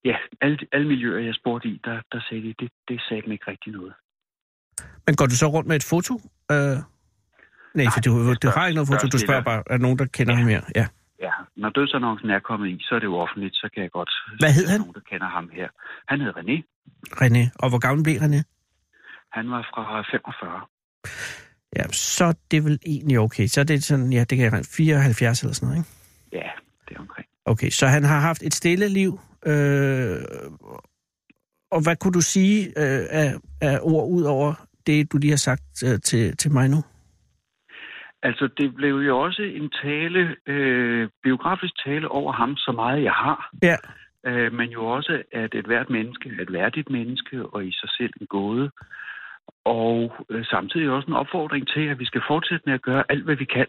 [SPEAKER 8] ja, alle, alle miljøer, jeg spurgte i, der, der sagde de, det, det sagde dem ikke rigtig noget.
[SPEAKER 2] Men går du så rundt med et foto? Øh, nej, for du,
[SPEAKER 8] jeg
[SPEAKER 2] du
[SPEAKER 8] spørger-
[SPEAKER 2] har ikke noget foto,
[SPEAKER 8] spørger
[SPEAKER 2] du spørger
[SPEAKER 8] stiller.
[SPEAKER 2] bare, er der nogen, der kender ham her? Ja.
[SPEAKER 8] Ja, når dødsannoncen er kommet i, så er det jo offentligt, så kan jeg godt...
[SPEAKER 2] Hvad hed
[SPEAKER 8] Der er
[SPEAKER 2] han?
[SPEAKER 8] Nogen, der kender ham her. Han hed René.
[SPEAKER 2] René. Og hvor gammel blev René?
[SPEAKER 8] Han var fra 45.
[SPEAKER 2] Ja, så er det vel egentlig okay. Så er det sådan, ja, det kan jeg regne- 74 eller sådan noget, ikke?
[SPEAKER 8] Ja, det er omkring.
[SPEAKER 2] Okay, så han har haft et stille liv. Øh, og hvad kunne du sige øh, af, af ord ud over det, du lige har sagt øh, til, til mig nu?
[SPEAKER 8] Altså, det blev jo også en tale, øh, biografisk tale over ham, så meget jeg har.
[SPEAKER 2] Ja.
[SPEAKER 8] Øh, men jo også, at et hvert menneske er et værdigt menneske, og i sig selv en gåde. Og øh, samtidig også en opfordring til, at vi skal fortsætte med at gøre alt, hvad vi kan,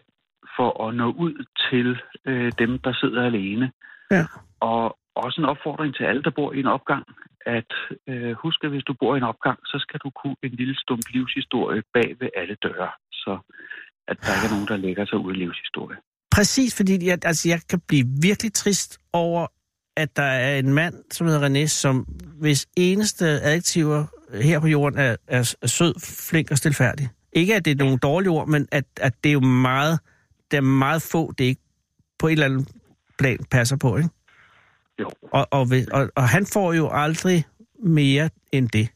[SPEAKER 8] for at nå ud til øh, dem, der sidder alene.
[SPEAKER 2] Ja.
[SPEAKER 8] Og også en opfordring til alle, der bor i en opgang, at øh, husk, at hvis du bor i en opgang, så skal du kunne en lille stump livshistorie bag ved alle døre. Så at der ikke er nogen, der lægger sig ud i livshistorie.
[SPEAKER 2] Præcis, fordi jeg, altså, jeg kan blive virkelig trist over, at der er en mand, som hedder René, som hvis eneste adjektiver her på jorden er, er, er sød, flink og stilfærdig. Ikke at det er nogle dårlige ord, men at, at det er jo meget, det er meget få, det ikke på et eller andet plan passer på. Ikke?
[SPEAKER 8] Jo,
[SPEAKER 2] Og, og, ved- og, og han får jo aldrig mere end det.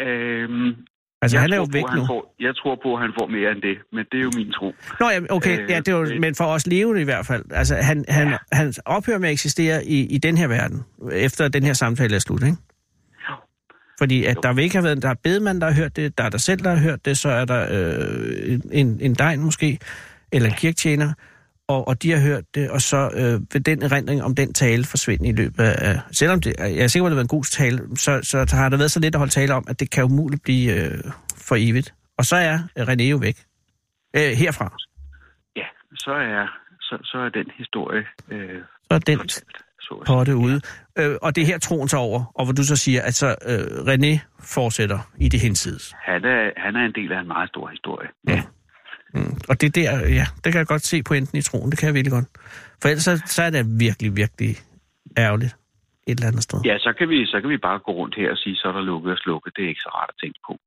[SPEAKER 8] øhm,
[SPEAKER 2] Altså,
[SPEAKER 8] jeg
[SPEAKER 2] han er jo
[SPEAKER 8] tror på,
[SPEAKER 2] væk
[SPEAKER 8] han
[SPEAKER 2] nu.
[SPEAKER 8] Får, jeg tror på, at han får mere end det, men det er jo min tro.
[SPEAKER 2] Nå ja, okay,
[SPEAKER 8] Øh,
[SPEAKER 2] ja, det var,
[SPEAKER 8] øh,
[SPEAKER 2] men for os levende i hvert fald. Altså, han, han,
[SPEAKER 8] Ja.
[SPEAKER 2] han ophører med at eksistere i, i den her verden, efter den her samtale er slut, ikke?
[SPEAKER 8] Jo.
[SPEAKER 2] Fordi at
[SPEAKER 8] Jo.
[SPEAKER 2] der vil ikke have været, der er bedemand, der har hørt det, der er dig selv, der har hørt det, så er der øh, en, en degn måske, eller en kirktjener, og, og de har hørt det, og så øh, vil den erindring om den tale forsvinde i løbet af... Selvom det, jeg er sikker på, at det var en god tale, så, så har der været så lidt at holde tale om, at det kan umuligt blive øh, for evigt. Og så er René jo væk. Øh, herfra.
[SPEAKER 8] Ja, så er, så, så er den historie øh,
[SPEAKER 2] Så er den
[SPEAKER 8] fortalt, så at sige.
[SPEAKER 2] potte ude. Øh, og det er her troen så over, og hvor du så siger, at så øh, René fortsætter i det hensides.
[SPEAKER 8] Han er, han er en del af en meget stor historie.
[SPEAKER 2] Ja. Mm. Og det der, ja, det kan jeg godt se pointen i troen, det kan jeg virkelig godt. For ellers så, så er det virkelig, virkelig ærgerligt et eller andet sted.
[SPEAKER 8] Ja, så kan, vi, så kan vi bare gå rundt her og sige, så er der lukket og slukket. Det er ikke så rart at tænke på.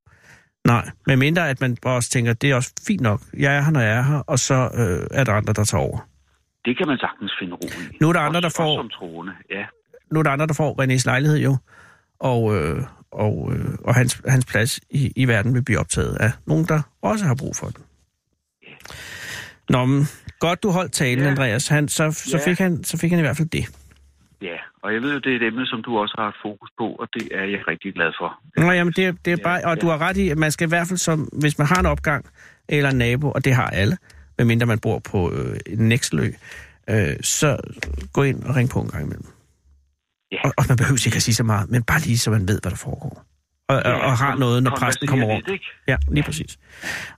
[SPEAKER 2] Nej, men mindre at man også tænker, det er også fint nok, jeg er her, når jeg er her, og så øh, er der andre, der tager over.
[SPEAKER 8] Det kan man sagtens finde ro i.
[SPEAKER 2] Nu er der andre,
[SPEAKER 8] Også-
[SPEAKER 2] der får-
[SPEAKER 8] Også som troende, ja.
[SPEAKER 2] Nu er der andre, der får Renés lejlighed jo, og, øh, og, øh, og hans, hans plads i, i verden vil blive optaget af nogen, der også har brug for den. Nå, men, godt du holdt talen, ja.
[SPEAKER 8] Ja.
[SPEAKER 2] Andreas. Han, så, så,
[SPEAKER 8] Ja.
[SPEAKER 2] fik han, så fik han i hvert fald det.
[SPEAKER 8] Ja, og jeg ved jo, det er et emne, som du også har haft fokus på, og det er jeg rigtig glad for.
[SPEAKER 2] Nå, jamen, det, er- det er
[SPEAKER 8] Ja,
[SPEAKER 2] bare, og
[SPEAKER 8] ja.
[SPEAKER 2] du har ret i, at man skal i hvert fald, som, hvis man har en opgang eller en nabo, og det har alle, medmindre man bor på øh, en Nexelø, øh, så gå ind og ring på en gang imellem.
[SPEAKER 8] Ja.
[SPEAKER 2] Og, og man behøver ikke at sige så meget, men bare lige så man ved, hvad der foregår. Og, og, og har noget, når præsten kommer rundt.
[SPEAKER 8] Lidt, ikke?
[SPEAKER 2] Ja, lige præcis.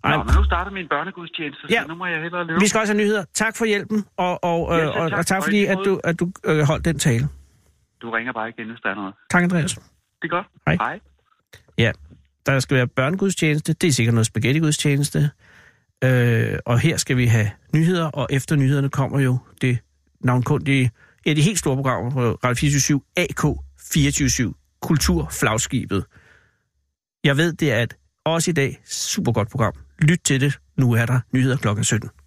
[SPEAKER 2] Ej,
[SPEAKER 8] Nå, men nu starter min børnegudstjeneste, så
[SPEAKER 2] Ja.
[SPEAKER 8] nu må jeg hellere løbe.
[SPEAKER 2] vi skal også have nyheder. Tak for hjælpen, og, og, øh,
[SPEAKER 8] Ja, selv
[SPEAKER 2] og,
[SPEAKER 8] tak.
[SPEAKER 2] og tak
[SPEAKER 8] Og
[SPEAKER 2] fordi,
[SPEAKER 8] i lige
[SPEAKER 2] at du,
[SPEAKER 8] måde.
[SPEAKER 2] at du øh, holdt den tale.
[SPEAKER 8] Du ringer bare igen, hvis der er noget.
[SPEAKER 2] Tak, Andreas.
[SPEAKER 8] Det er godt.
[SPEAKER 2] Hej.
[SPEAKER 8] Hej.
[SPEAKER 2] Der skal være børnegudstjeneste, det er sikkert noget spaghettigudstjeneste. Øh, og her skal vi have nyheder, og efter nyhederne kommer jo det navnkundige, et af de helt store programmer på Radio 24 AK 24 Kulturflagskibet. Jeg ved, det er et også i dag super godt program. Lyt til det. Nu er der nyheder klokken 17.